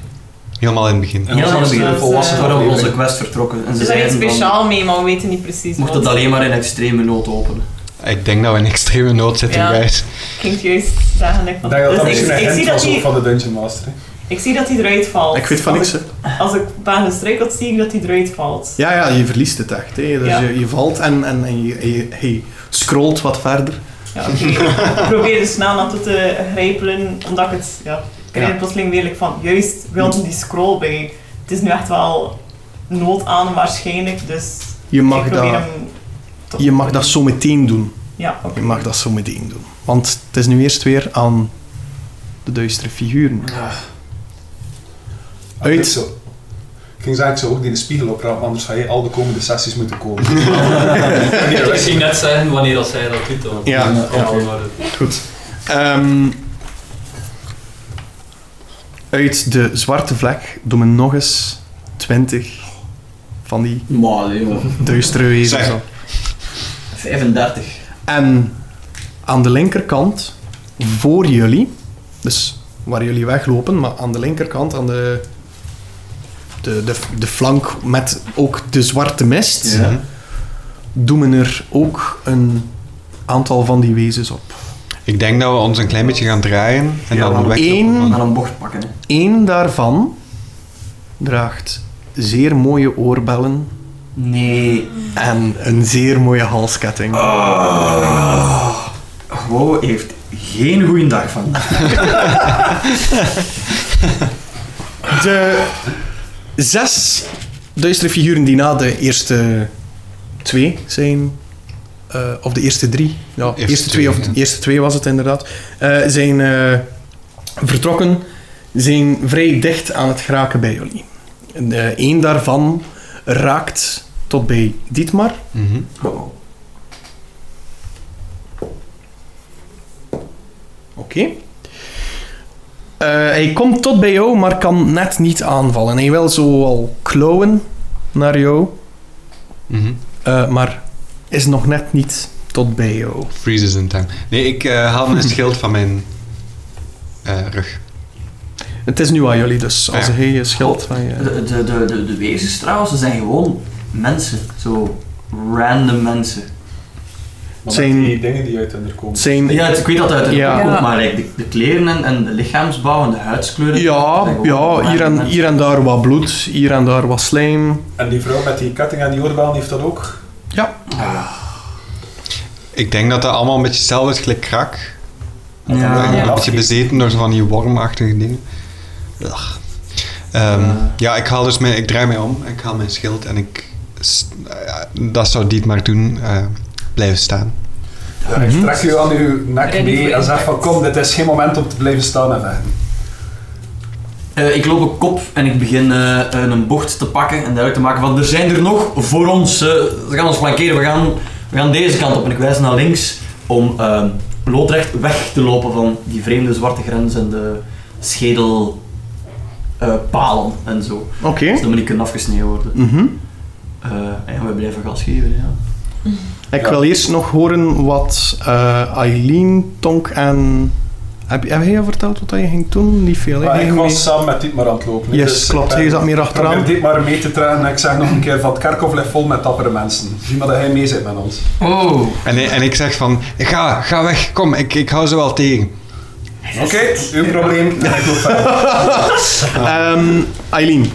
[SPEAKER 5] Helemaal in het begin.
[SPEAKER 7] En
[SPEAKER 3] Ja,
[SPEAKER 7] was
[SPEAKER 3] dat
[SPEAKER 7] een
[SPEAKER 3] is,
[SPEAKER 7] volwassen
[SPEAKER 3] eh,
[SPEAKER 7] waren op onze
[SPEAKER 4] aflevering.
[SPEAKER 7] quest vertrokken. En ze
[SPEAKER 3] Er Dus is daar iets
[SPEAKER 7] zeiden van,
[SPEAKER 3] speciaal mee, maar we weten niet precies
[SPEAKER 7] je moet
[SPEAKER 3] wat.
[SPEAKER 7] het alleen maar in extreme nood openen.
[SPEAKER 5] Ik denk dat we in extreme nood zitten,
[SPEAKER 3] Ja.
[SPEAKER 5] guys.
[SPEAKER 3] Ik ging het juist zeggen. Ik,
[SPEAKER 4] Ik denk dat dat
[SPEAKER 3] Dus
[SPEAKER 4] misschien een
[SPEAKER 3] ik, ik, zie
[SPEAKER 4] hint
[SPEAKER 3] dat
[SPEAKER 4] was ook
[SPEAKER 3] die,
[SPEAKER 4] van de Dungeon Master. hè.
[SPEAKER 3] ik zie dat hij eruit valt.
[SPEAKER 1] Ik weet van
[SPEAKER 3] Als
[SPEAKER 1] niks,
[SPEAKER 3] ik-
[SPEAKER 1] hè.
[SPEAKER 3] Als ik pagina struikelt, zie ik dat hij eruit valt.
[SPEAKER 1] Ja, ja, je verliest het echt. Hè. Dus
[SPEAKER 3] Ja.
[SPEAKER 1] je, je valt en, en, en je, je, je scrolt wat verder.
[SPEAKER 3] Ja, oké. ik probeer er snel naartoe te grijpelen, omdat ik het... Ja, ik krijg er plotseling weer like van, juist, we hadden die scroll bij. Het is nu echt wel nood aan waarschijnlijk, dus
[SPEAKER 1] Je mag,
[SPEAKER 3] ik probeer
[SPEAKER 1] dat,
[SPEAKER 3] hem... tot-
[SPEAKER 1] je mag dat zo meteen doen.
[SPEAKER 3] Ja, oké.
[SPEAKER 1] Je mag dat zo meteen doen. Want het is nu eerst weer aan de duistere figuren.
[SPEAKER 4] Ah,
[SPEAKER 1] Uit.
[SPEAKER 4] dus zo. Ik ging zeggen, ik zou ook die de spiegel oprapen, anders ga je al de komende sessies moeten komen.
[SPEAKER 6] Ik ging net zeggen wanneer dat zij dat doet. Dan.
[SPEAKER 1] Ja,
[SPEAKER 6] ja
[SPEAKER 1] oké.
[SPEAKER 6] maar-
[SPEAKER 1] Goed. Ehm, uit de zwarte vlek doen we nog eens 20 van die
[SPEAKER 7] Maar joh.
[SPEAKER 1] duistere wezens
[SPEAKER 5] Zeg.
[SPEAKER 1] op.
[SPEAKER 7] 35.
[SPEAKER 1] En aan de linkerkant, voor jullie, dus waar jullie weglopen, maar aan de linkerkant, aan de, de, de, de flank met ook de zwarte mist,
[SPEAKER 7] Ja.
[SPEAKER 1] doen we er ook een aantal van die wezens op.
[SPEAKER 5] Ik denk dat we ons een klein beetje gaan draaien en
[SPEAKER 1] Ja,
[SPEAKER 5] dan
[SPEAKER 1] want
[SPEAKER 5] weg.
[SPEAKER 1] één-
[SPEAKER 7] We gaan een bocht pakken. Hè.
[SPEAKER 1] Eén daarvan draagt zeer mooie oorbellen
[SPEAKER 7] Nee.
[SPEAKER 1] en een zeer mooie halsketting.
[SPEAKER 7] Wow heeft geen goede dag vandaag.
[SPEAKER 1] De zes duistere figuren die na de eerste twee zijn, eh, of de eerste drie, ja, eerste, twee,
[SPEAKER 5] twee,
[SPEAKER 1] of de
[SPEAKER 5] ja.
[SPEAKER 1] eerste twee was het inderdaad, eh, zijn eh, vertrokken, zijn vrij dicht aan het geraken bij jullie. Eén daarvan raakt tot bij Dietmar.
[SPEAKER 5] Mhm.
[SPEAKER 7] Wow.
[SPEAKER 1] Oké. Eh, hij komt tot bij jou, maar kan net niet aanvallen. Hij wil zo al klauwen naar jou,
[SPEAKER 5] Mhm.
[SPEAKER 1] eh, maar is nog net niet tot bij jou.
[SPEAKER 5] Freezes in time. Nee, ik eh, haal mijn schild van mijn eh, rug.
[SPEAKER 1] Het is nu aan jullie dus, als
[SPEAKER 5] Ja.
[SPEAKER 1] hij je schild van je...
[SPEAKER 7] De, de, de, de, de wezens trouwens, ze zijn gewoon mensen. Zo random mensen.
[SPEAKER 4] Maar
[SPEAKER 1] Zijn-
[SPEAKER 4] met die dingen die uit hen er
[SPEAKER 1] Het
[SPEAKER 4] komen.
[SPEAKER 1] zijn...
[SPEAKER 7] Ja, het- ik weet dat uit de
[SPEAKER 1] Ja.
[SPEAKER 7] boek ook, maar like, de, de kleren en, en de lichaamsbouw en de huidskleuren. dat
[SPEAKER 1] Ja,
[SPEAKER 7] zijn gewoon
[SPEAKER 1] ja
[SPEAKER 7] random
[SPEAKER 1] hier, en,
[SPEAKER 7] mensen.
[SPEAKER 1] hier en daar wat bloed, hier en daar wat slijm.
[SPEAKER 4] En die vrouw met die ketting en die oorbellen heeft dat ook.
[SPEAKER 5] Ik denk dat dat allemaal een beetje hetzelfde is, gelijk krak.
[SPEAKER 7] Ja.
[SPEAKER 5] Een
[SPEAKER 3] Ja.
[SPEAKER 5] beetje bezeten door zo van die wormachtige dingen. Ugh. Ehm,
[SPEAKER 7] Eh.
[SPEAKER 5] Ja, ik haal dus mijn, ik draai mij om, ik haal mijn schild en ik. s- eh, dat zou Diet maar doen, eh, blijven staan.
[SPEAKER 4] Ja,
[SPEAKER 1] Mhm.
[SPEAKER 4] ik trek u aan uw nek
[SPEAKER 3] Ready
[SPEAKER 4] mee
[SPEAKER 3] for
[SPEAKER 4] en zeg van
[SPEAKER 3] impact.
[SPEAKER 4] kom, dit is geen moment om te blijven staan en vechten.
[SPEAKER 7] Eh, ik loop op kop en ik begin eh, een bocht te pakken en duidelijk te maken van er zijn er nog voor ons. eh, ze gaan ons flankeren, we gaan, we gaan deze kant op. En ik wijs naar links om eh, loodrecht weg te lopen van die vreemde zwarte grens en de schedelpalen palen en zo. Dus
[SPEAKER 1] Oké.
[SPEAKER 7] Zodat we niet kunnen afgesneden worden.
[SPEAKER 1] Mhm.
[SPEAKER 7] Eh, en we blijven gas geven, ja.
[SPEAKER 1] Ik
[SPEAKER 4] Ja.
[SPEAKER 1] wil eerst nog horen wat eh, Eileen, Tonk en... Heb, heb jij al verteld wat je ging doen? Niet veel, hè?
[SPEAKER 4] Maar
[SPEAKER 1] Jij
[SPEAKER 4] Ah, ik
[SPEAKER 1] ging
[SPEAKER 4] was
[SPEAKER 1] mee-
[SPEAKER 4] samen met Dietmar aan het lopen. hè,
[SPEAKER 1] Yes,
[SPEAKER 4] dus ik
[SPEAKER 1] klopt.
[SPEAKER 4] ben-
[SPEAKER 1] Jij zat meer
[SPEAKER 4] Ik probeer
[SPEAKER 1] achteraan.
[SPEAKER 4] Dietmar mee te trainen en ik zeg nog een keer van het kerkhof ligt vol met dappere mensen. Zie maar dat hij mee zit met ons.
[SPEAKER 7] Oh.
[SPEAKER 5] En, en ik zeg van, ga, ga weg, kom, ik, ik hou ze wel tegen.
[SPEAKER 4] Oké, uw probleem. En ik loop verder.
[SPEAKER 1] Ehm, Eileen.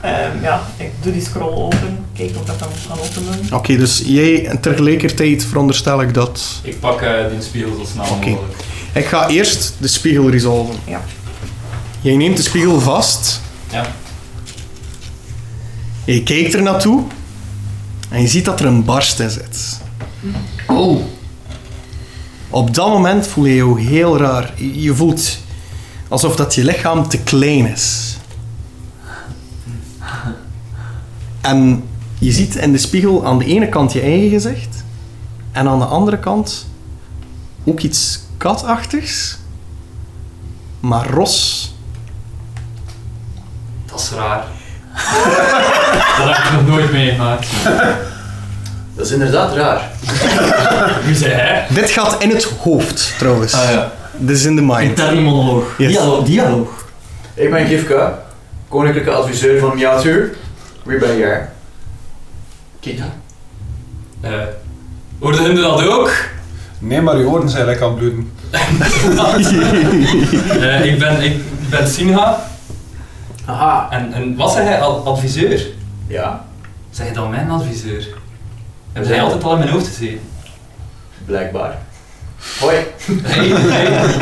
[SPEAKER 3] Ehm, ja, ik doe die scroll open. Kijk of dat dan kan openen.
[SPEAKER 1] Oké, dus jij en tegelijkertijd veronderstel ik dat...
[SPEAKER 6] Ik pak eh die spiegel zo snel
[SPEAKER 1] Oké.
[SPEAKER 6] mogelijk.
[SPEAKER 1] Ik ga eerst de spiegel resolven.
[SPEAKER 3] Ja.
[SPEAKER 1] Jij neemt de spiegel vast.
[SPEAKER 6] Ja.
[SPEAKER 1] Je kijkt er naartoe. En je ziet dat er een barst in zit.
[SPEAKER 7] Oh.
[SPEAKER 1] Op dat moment voel je je heel raar. Je je voelt alsof dat je lichaam te klein is. En je ziet in de spiegel aan de ene kant je eigen gezicht en aan de andere kant ook iets katachtigs, maar ros.
[SPEAKER 6] Dat is raar. dat heb ik nog nooit meegemaakt.
[SPEAKER 2] Dat is inderdaad raar.
[SPEAKER 6] Nu zei hij.
[SPEAKER 1] Dit gaat in het hoofd trouwens.
[SPEAKER 7] Ah ja,
[SPEAKER 1] Dit is in de mind.
[SPEAKER 7] interne monoloog.
[SPEAKER 1] Yes.
[SPEAKER 7] Dialoog. dialoog.
[SPEAKER 2] Ik ben Gifka, koninklijke adviseur van Miatuur. Wie ben jij? Kita.
[SPEAKER 6] eh hoorde hem dat ook?
[SPEAKER 4] Nee, maar uw oren zijn lekker aan het bloeden.
[SPEAKER 6] Eh, ik, ben, ik ben Sinha.
[SPEAKER 2] Aha.
[SPEAKER 6] En, en wat zei hij? Ad- adviseur?
[SPEAKER 2] Ja,
[SPEAKER 6] Zeg je dan mijn adviseur? Hebben zij altijd al in mijn hoofd gezien?
[SPEAKER 2] blijkbaar. Hoi.
[SPEAKER 6] Hey, hey.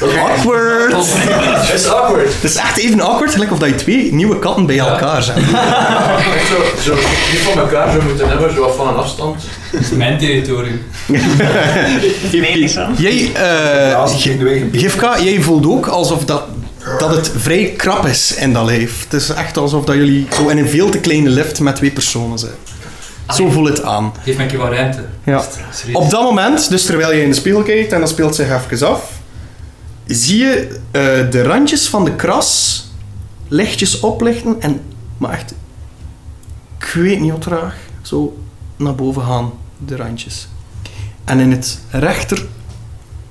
[SPEAKER 2] Dat is awkward.
[SPEAKER 1] Awkward!
[SPEAKER 2] Dat is awkward.
[SPEAKER 1] Het is echt even awkward, gelijk of dat je twee nieuwe katten bij
[SPEAKER 6] Ja.
[SPEAKER 1] elkaar zijn.
[SPEAKER 2] Echt zo, zo niet van elkaar zo moeten hebben, zo wat van een afstand.
[SPEAKER 6] Dat is mijn territorium.
[SPEAKER 3] Weinig dan.
[SPEAKER 1] Jij,
[SPEAKER 4] Ja,
[SPEAKER 1] eh,
[SPEAKER 4] ze zijn de wegen beter.
[SPEAKER 1] Gifka, jij voelt ook alsof dat, dat het vrij krap is in dat lijf. Het is echt alsof dat jullie zo in een veel te kleine lift met twee personen zijn.
[SPEAKER 7] Ah,
[SPEAKER 1] Zo voelt het aan.
[SPEAKER 6] Geef mij een keer wat ruimte.
[SPEAKER 1] Ja.
[SPEAKER 6] Serieus.
[SPEAKER 1] Op dat moment, dus terwijl je in de spiegel kijkt en dat speelt zich even af, zie je eh, de randjes van de kras lichtjes oplichten en, maar echt, ik weet niet hoe traag, zo naar boven gaan, de randjes. En in het rechter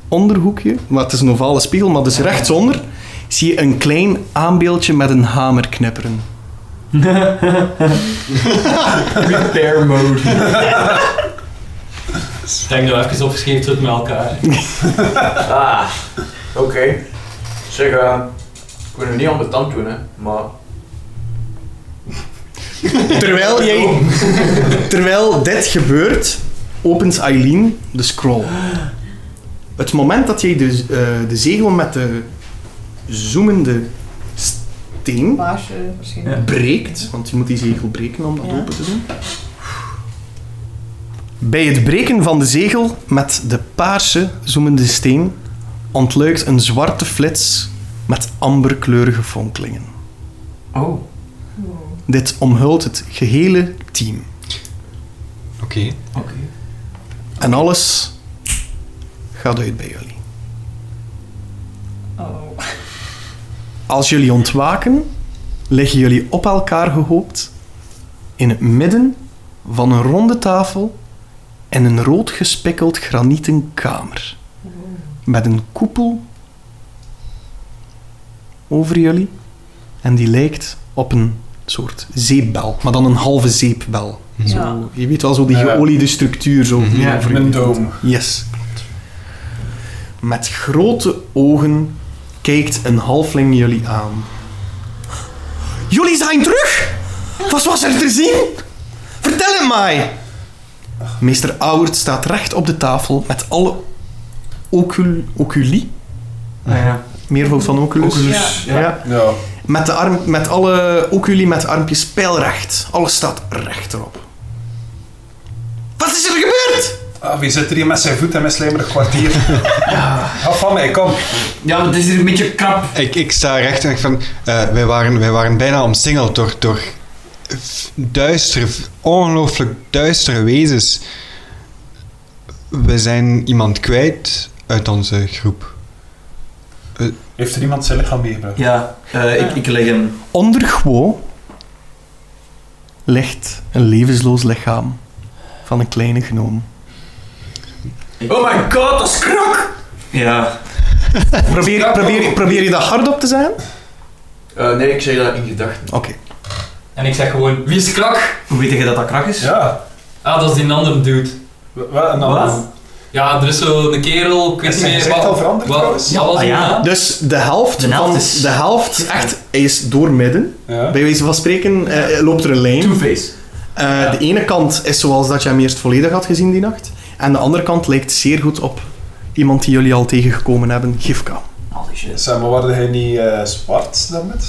[SPEAKER 1] onderhoekje, maar het is een ovale spiegel, maar dus rechtsonder, zie je een klein aanbeeldje met een hamer knipperen.
[SPEAKER 7] Repair mode.
[SPEAKER 6] Ik denk dat we even opgeschreven zitten met elkaar.
[SPEAKER 2] Ah, oké. Zeg, eh, ik wil nu niet aan mijn tand doen, hè, maar...
[SPEAKER 1] Terwijl, jij, terwijl dit gebeurt, opent Eileen de scroll. Het moment dat jij de, eh, de zegel met de zoemende steen
[SPEAKER 3] Baasje waarschijnlijk.
[SPEAKER 1] breekt, want je moet die zegel breken om dat
[SPEAKER 3] Ja.
[SPEAKER 1] open te doen. Bij het breken van de zegel met de paarse zoemende steen ontluikt een zwarte flits met amberkleurige fonkelingen.
[SPEAKER 7] Oh.
[SPEAKER 1] Dit omhult het gehele team.
[SPEAKER 5] Oké.
[SPEAKER 7] Oké.
[SPEAKER 1] En alles gaat uit bij jullie.
[SPEAKER 3] Oh.
[SPEAKER 1] Als jullie ontwaken, liggen jullie op elkaar gehoopt in het midden van een ronde tafel in een rood gespikkeld granieten kamer. Met een koepel over jullie en die lijkt op een soort zeepbel, maar dan een halve zeepbel.
[SPEAKER 3] Ja.
[SPEAKER 1] Je weet wel, zo die
[SPEAKER 4] Ja.
[SPEAKER 1] geoliede structuur zo. die
[SPEAKER 7] Ja,
[SPEAKER 1] over
[SPEAKER 4] Een
[SPEAKER 1] jullie-
[SPEAKER 4] doom.
[SPEAKER 1] Yes, klopt. Met grote ogen kijkt een halfling jullie aan. Jullie zijn terug? Wat was er te zien? Vertel het mij! Meester Auwert staat recht op de tafel met alle ocul oculi,
[SPEAKER 7] Ah, ja.
[SPEAKER 1] meervoud van oculus.
[SPEAKER 7] Oculus.
[SPEAKER 1] Ja.
[SPEAKER 4] Ja.
[SPEAKER 1] Met, de arm, met alle oculi met armpjes pijlrecht. Alles staat recht erop. Wat is er gebeurd?
[SPEAKER 4] Ah, wie zit er hier met zijn voet en mijn slijmerig kwartier? Af van mij, kom.
[SPEAKER 7] Ja, maar het is hier een beetje krap.
[SPEAKER 5] Ik, ik sta recht en ik van, eh, wij, waren, wij waren bijna omsingeld door, door duistere, ongelooflijk duistere wezens. We zijn iemand kwijt uit onze groep.
[SPEAKER 4] Heeft er iemand zijn lichaam meegebracht?
[SPEAKER 7] Ja, eh, ik, ik leg hem.
[SPEAKER 1] Onder Guo ligt een levensloos lichaam van een kleine gnoom.
[SPEAKER 2] Oh my god, dat is krok!
[SPEAKER 7] Ja.
[SPEAKER 1] Probeer, probeer, probeer je dat hardop te zeggen?
[SPEAKER 2] Eh, nee, ik zei dat in gedachten.
[SPEAKER 1] Oké.
[SPEAKER 6] En ik zeg gewoon, wie is krak?
[SPEAKER 7] Hoe weet je dat dat krak is?
[SPEAKER 4] Ja.
[SPEAKER 6] Ah, dat is die andere dude.
[SPEAKER 4] Wa- wa- en dan-
[SPEAKER 7] Wat?
[SPEAKER 6] Ja, er is zo'n kerel, ik
[SPEAKER 4] Is
[SPEAKER 6] weet
[SPEAKER 4] zijn
[SPEAKER 6] niet
[SPEAKER 4] gezicht al veranderd trouwens?
[SPEAKER 6] Ja, was
[SPEAKER 7] Ah,
[SPEAKER 6] hij
[SPEAKER 7] ja.
[SPEAKER 6] nou?
[SPEAKER 1] Dus de helft,
[SPEAKER 7] De helft
[SPEAKER 1] van,
[SPEAKER 7] is-
[SPEAKER 1] de helft echt, hij is doormidden.
[SPEAKER 4] Ja.
[SPEAKER 1] Bij wijze van spreken eh, loopt er een lijn.
[SPEAKER 7] Two-Face.
[SPEAKER 1] Eh, De ene kant is zoals dat je hem eerst volledig had gezien die nacht. En de andere kant lijkt zeer goed op iemand die jullie al tegengekomen hebben, Gifka.
[SPEAKER 7] Holy shit.
[SPEAKER 4] Zeg maar, waren hij niet eh, zwart dan met?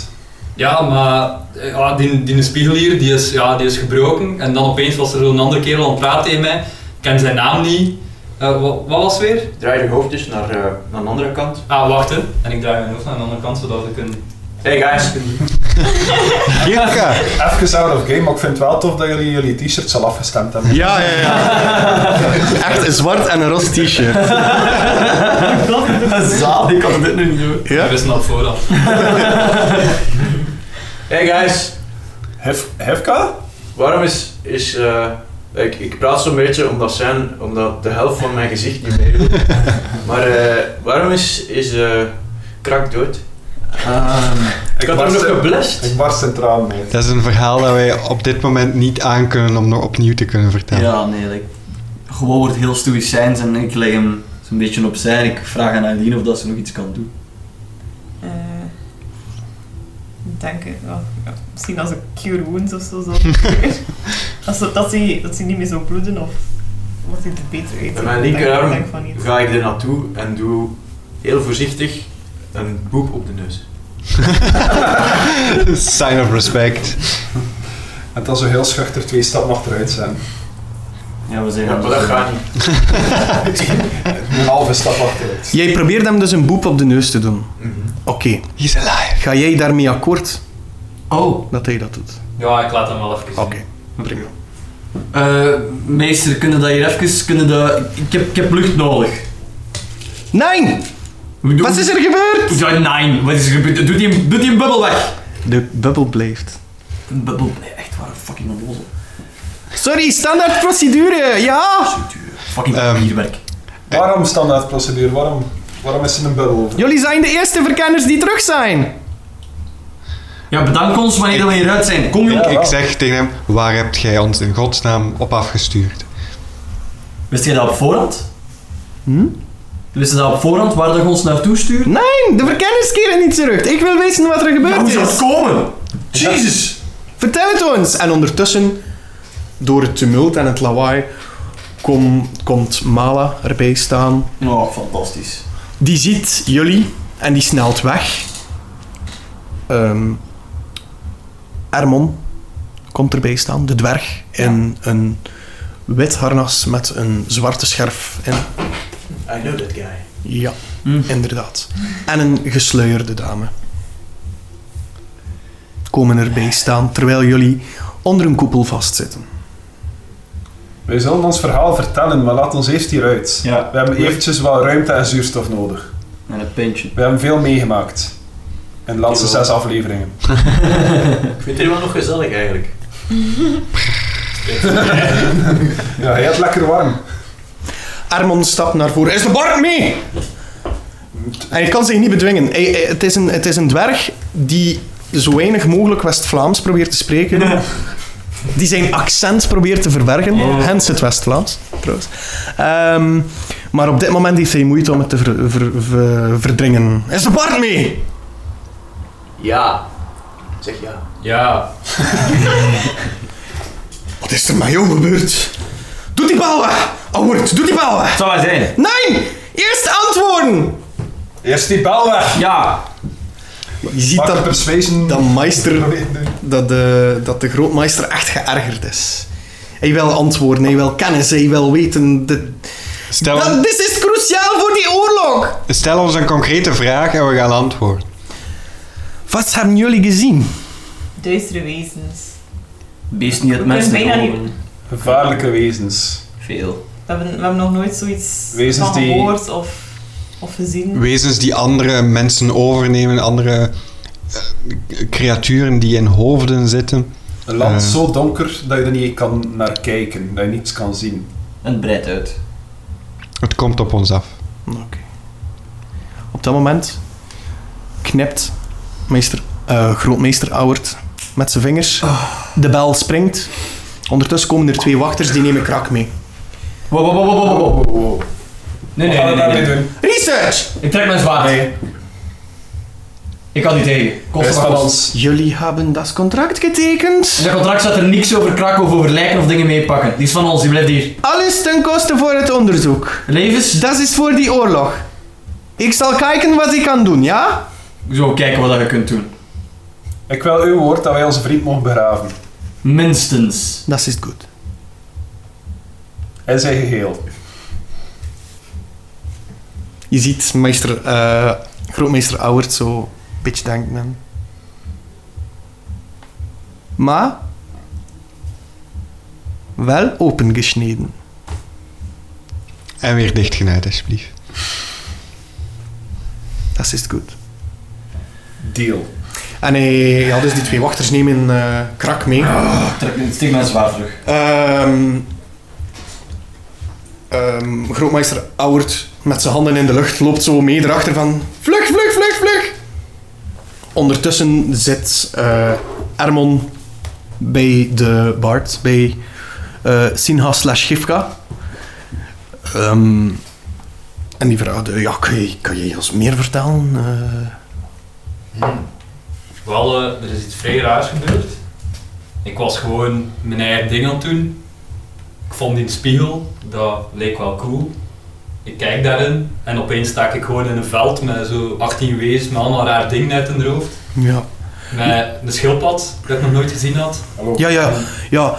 [SPEAKER 6] Ja, maar eh, ja, die, die spiegel hier, die is, ja, die is gebroken. En dan opeens was er zo'n andere kerel aan het praten tegen mij. Ik ken zijn naam niet. Eh, wa- wat was het weer?
[SPEAKER 2] Draai je hoofd dus naar, eh, naar de andere kant.
[SPEAKER 6] Ah, wachten. En ik draai mijn hoofd naar de andere kant, zodat ik een...
[SPEAKER 2] Hey guys,
[SPEAKER 5] Jirka!
[SPEAKER 4] Even out of game, maar ik vind het wel tof dat jullie jullie t-shirts al afgestemd hebben.
[SPEAKER 1] Ja, ja, ja. Echt een zwart en een roze t-shirt.
[SPEAKER 7] Zaal, Ah, ik kan dit nu niet doen.
[SPEAKER 1] Ja.
[SPEAKER 6] Er is nog vooraf.
[SPEAKER 2] hey guys,
[SPEAKER 4] Hef, Hefka?
[SPEAKER 2] waarom is. is eh, ik, ik praat zo'n beetje omdat, zijn, omdat de helft van mijn gezicht niet meer doet. Maar eh, waarom is, is eh, krak dood?
[SPEAKER 7] Ehm,
[SPEAKER 2] Ik had hem nog
[SPEAKER 7] eh,
[SPEAKER 4] in-
[SPEAKER 2] geblest.
[SPEAKER 4] Ik barst in tranen uit.
[SPEAKER 5] Dat is een verhaal dat wij op dit moment niet aankunnen om nog opnieuw te kunnen
[SPEAKER 7] Ja,
[SPEAKER 5] vertellen.
[SPEAKER 7] nee, like, gewoon wordt heel stoïcijns en ik leg hem zo'n beetje opzij en ik vraag aan Aileen of dat ze nog iets kan doen.
[SPEAKER 3] Eh, ik denk ik wel. Ja, misschien als een cure wounds of zo. zo. als ze, dat, ze, dat ze niet meer zo bloeden of wat hij er beter uit.
[SPEAKER 2] Met mijn
[SPEAKER 3] Ik denk-
[SPEAKER 2] linkerarm
[SPEAKER 3] ik denk van niet.
[SPEAKER 2] Ga ik er naartoe en doe heel voorzichtig een boep op de neus.
[SPEAKER 5] Sign of respect.
[SPEAKER 4] En dan zo heel schuchter twee stappen achteruit zijn.
[SPEAKER 7] Ja, we zeggen
[SPEAKER 2] Ja, maar dat gaat niet.
[SPEAKER 4] Een halve stap achteruit.
[SPEAKER 1] Jij probeert hem dus een boep op de neus te doen.
[SPEAKER 2] Mhm.
[SPEAKER 1] Oké,
[SPEAKER 5] He's alive.
[SPEAKER 1] ga jij daarmee akkoord
[SPEAKER 7] Oh,
[SPEAKER 1] dat hij dat doet?
[SPEAKER 6] Ja, ik laat hem wel even zien.
[SPEAKER 1] prima.
[SPEAKER 7] eh, meester, kunnen dat hier even, kunnen dat... Ik heb, ik heb lucht nodig.
[SPEAKER 1] Nee!
[SPEAKER 7] Hoe doe-
[SPEAKER 1] Wat is er gebeurd?
[SPEAKER 7] Ja, nee, wat is er gebeurd? Doet die, een- doet die een bubbel weg?
[SPEAKER 1] De bubbel blijft.
[SPEAKER 7] Een bubbel? Nee, echt waar, een fucking onnozel.
[SPEAKER 1] Sorry, standaard procedure, ja!
[SPEAKER 7] Fucking
[SPEAKER 5] Ehm.
[SPEAKER 7] papierwerk.
[SPEAKER 4] Waarom standaardprocedure? Waarom, waarom is er een bubbel?
[SPEAKER 1] Jullie zijn de eerste verkenners die terug zijn.
[SPEAKER 7] Ja, bedank ons wanneer dat we hieruit zijn. Kom jong.
[SPEAKER 5] Ik,
[SPEAKER 4] Ja.
[SPEAKER 5] ik zeg tegen hem, waar hebt jij ons in godsnaam op afgestuurd?
[SPEAKER 7] Wist jij dat op voorhand?
[SPEAKER 1] Hm?
[SPEAKER 7] Wist je dat op voorhand waar dat je ons naartoe stuurt?
[SPEAKER 1] Nee, de verkenners keren niet terug. Ik wil weten wat er gebeurd
[SPEAKER 7] zou
[SPEAKER 1] is.
[SPEAKER 7] het komen? Jezus!
[SPEAKER 1] Vertel het ons. En ondertussen, door het tumult en het lawaai, kom- komt Mala erbij staan.
[SPEAKER 7] Oh, fantastisch.
[SPEAKER 1] Die ziet jullie en die snelt weg. Ehm Ermon komt erbij staan, de dwerg, in een wit harnas met een zwarte scherf. In.
[SPEAKER 2] I know that guy.
[SPEAKER 1] Ja,
[SPEAKER 7] Hm.
[SPEAKER 1] inderdaad. En een gesluierde dame. Komen erbij staan terwijl jullie onder een koepel vastzitten.
[SPEAKER 4] Wij zullen ons verhaal vertellen, maar laat ons eerst hieruit.
[SPEAKER 7] Ja.
[SPEAKER 4] We hebben eventjes wel ruimte en zuurstof nodig.
[SPEAKER 7] En een pintje.
[SPEAKER 4] We hebben veel meegemaakt. In de laatste
[SPEAKER 2] Jawel.
[SPEAKER 4] zes afleveringen.
[SPEAKER 2] Ik vind het wel nog gezellig eigenlijk.
[SPEAKER 4] Ja, hij had lekker warm.
[SPEAKER 1] Armon stapt naar voren. Is de Bart mee? En je kan zich niet bedwingen. Hij- hij- het, is een, het is een dwerg die zo weinig mogelijk West-Vlaams probeert te spreken. Die zijn accent probeert te verbergen. Hens het West-Vlaams, trouwens. Ehm, maar op dit moment heeft hij moeite om het te ver- ver- ver- verdringen. Is de Bart mee?
[SPEAKER 2] Ja. Zeg ja.
[SPEAKER 6] Ja,
[SPEAKER 1] Wat is er met jou gebeurd? Doe die bal weg! Albert, doe die bal weg!
[SPEAKER 7] Zal wij zijn?
[SPEAKER 1] Nee! Eerst antwoorden!
[SPEAKER 4] Eerst die bel weg!
[SPEAKER 7] Ja.
[SPEAKER 1] Je ziet
[SPEAKER 4] Pak de
[SPEAKER 1] dat,
[SPEAKER 4] persuasion.
[SPEAKER 1] dat, meister,
[SPEAKER 4] Probeer-
[SPEAKER 1] dat, de, dat de grootmeister echt geërgerd is. Hij wil antwoorden, hij wil kennis, hij wil weten. Dit,
[SPEAKER 5] Stel,
[SPEAKER 1] Dat- dit is cruciaal voor die oorlog!
[SPEAKER 5] stel ons een concrete vraag en we gaan antwoorden.
[SPEAKER 1] Wat hebben jullie gezien?
[SPEAKER 3] Duistere wezens.
[SPEAKER 7] Beesten die het
[SPEAKER 3] We kunnen
[SPEAKER 7] mensen
[SPEAKER 3] bijna niet-
[SPEAKER 7] roven.
[SPEAKER 4] Gevaarlijke wezens.
[SPEAKER 7] Veel.
[SPEAKER 3] We hebben, we hebben nog nooit zoiets
[SPEAKER 4] Wezens
[SPEAKER 3] van
[SPEAKER 4] die-
[SPEAKER 3] gehoord of, of gezien.
[SPEAKER 5] Wezens die andere mensen overnemen, andere eh, creaturen die in hoofden zitten.
[SPEAKER 4] Een land
[SPEAKER 5] Eh.
[SPEAKER 4] zo donker dat je er niet kan naar kijken, dat je niets kan zien.
[SPEAKER 7] En het breidt uit.
[SPEAKER 5] Het komt op ons af.
[SPEAKER 1] Oké. Op dat moment knipt meester, eh, grootmeester Auwert met zijn vingers. De bel springt. Ondertussen komen er twee wachters, die nemen krak mee.
[SPEAKER 7] Wow, wow, wow, wow, wow, wow. Nee,
[SPEAKER 4] Wat
[SPEAKER 7] nee,
[SPEAKER 4] gaan
[SPEAKER 7] nee,
[SPEAKER 4] we
[SPEAKER 7] nee,
[SPEAKER 4] daarmee
[SPEAKER 7] nee.
[SPEAKER 4] doen?
[SPEAKER 1] Research!
[SPEAKER 7] Ik trek mijn zwaard.
[SPEAKER 4] Nee,
[SPEAKER 7] Ik kan niet tegen. Kost
[SPEAKER 4] rest
[SPEAKER 7] wat
[SPEAKER 4] van
[SPEAKER 7] kost.
[SPEAKER 4] ons.
[SPEAKER 1] Jullie hebben dat contract getekend.
[SPEAKER 7] In dat contract staat er niks over krak of over lijken of dingen meepakken. Die is van ons, die blijft hier.
[SPEAKER 1] Alles ten koste voor het onderzoek.
[SPEAKER 7] Levens,
[SPEAKER 1] Dat is voor die oorlog. Ik zal kijken wat ik kan doen, ja?
[SPEAKER 7] zo kijken wat dat je kunt doen.
[SPEAKER 4] Ik wil uw woord dat wij onze vriend mogen begraven.
[SPEAKER 7] Minstens.
[SPEAKER 1] Dat is goed.
[SPEAKER 4] In zijn geheel.
[SPEAKER 1] Je ziet meester, eh, grootmeester Auwert zo een beetje denken. En... Maar wel opengesneden.
[SPEAKER 5] En weer dichtgenaaid, alsjeblieft.
[SPEAKER 1] Dat is goed.
[SPEAKER 4] Deal.
[SPEAKER 1] En hij had dus die twee wachters nemen eh, krak mee.
[SPEAKER 7] Ik trek ik steek mijn zwaard terug.
[SPEAKER 1] Ehm ehm, grootmeester Auwert met zijn handen in de lucht loopt zo mee erachter van... Vlug, vlug, vlug, vlug! Ondertussen zit eh Ermon bij de Bard, bij eh, Sinha slash Gifka. Ehm, en die vraagt, eh, ja, kan je, kan je ons meer vertellen? Eh,
[SPEAKER 6] Wel, eh, er is iets vrij raars gebeurd. Ik was gewoon mijn eigen ding aan het doen. Ik vond die spiegel, dat leek wel cool. Ik kijk daarin en opeens sta ik gewoon in een veld met zo 18 wezens met allemaal raar dingen uit hun hoofd.
[SPEAKER 1] ja.
[SPEAKER 6] Met een schildpad dat ik nog nooit gezien had.
[SPEAKER 4] Hallo.
[SPEAKER 1] ja, ja, ja.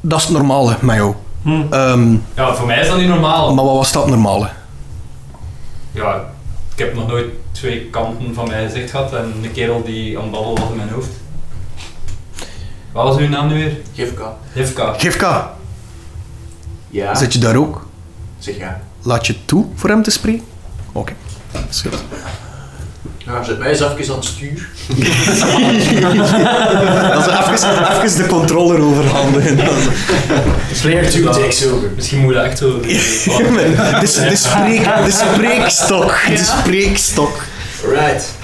[SPEAKER 1] Dat is het normale, Mayo.
[SPEAKER 6] Hm.
[SPEAKER 1] Ehm,
[SPEAKER 6] Ja, voor mij is dat niet normaal.
[SPEAKER 1] maar wat was dat normale?
[SPEAKER 6] Ja, ik heb nog nooit twee kanten van mijn gezicht gehad en een kerel die aan het babbelen was in mijn hoofd. Wat was uw naam nu weer?
[SPEAKER 2] Gifka.
[SPEAKER 6] Hivka.
[SPEAKER 1] Gifka,
[SPEAKER 2] Ja.
[SPEAKER 1] zit je daar ook?
[SPEAKER 2] Zeg ja.
[SPEAKER 1] Laat je het toe voor hem te spreken? Oké. dat is goed.
[SPEAKER 2] Ja, Nou, zet mij eens even aan het stuur.
[SPEAKER 1] Dat is even, even de controller overhandigen.
[SPEAKER 2] Slayer 2 takes over.
[SPEAKER 6] Misschien moet je dat echt zo...
[SPEAKER 1] De, de, spreek, de spreekstok. De spreekstok.
[SPEAKER 2] Right.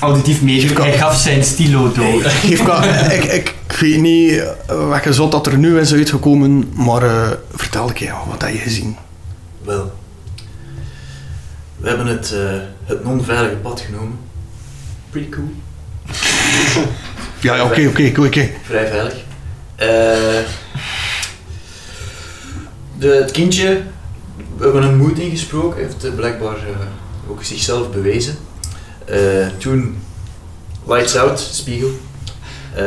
[SPEAKER 7] Auditief meegekomen. Hij gaf zijn stilo door.
[SPEAKER 1] Gifka, ik, ik, ik weet niet eh, welke zot dat er nu is uitgekomen, maar eh, vertel ik je, wat heb je gezien?
[SPEAKER 2] Wel. We hebben het, eh, het non-veilige pad genomen. Pretty cool.
[SPEAKER 1] Ja, ja, oké, oké, oké, oké.
[SPEAKER 2] Vrij veilig. Eh, de, het kindje, we hebben een moed ingesproken, heeft eh, blijkbaar eh, ook zichzelf bewezen. Eh, toen, lights out, spiegel. Eh,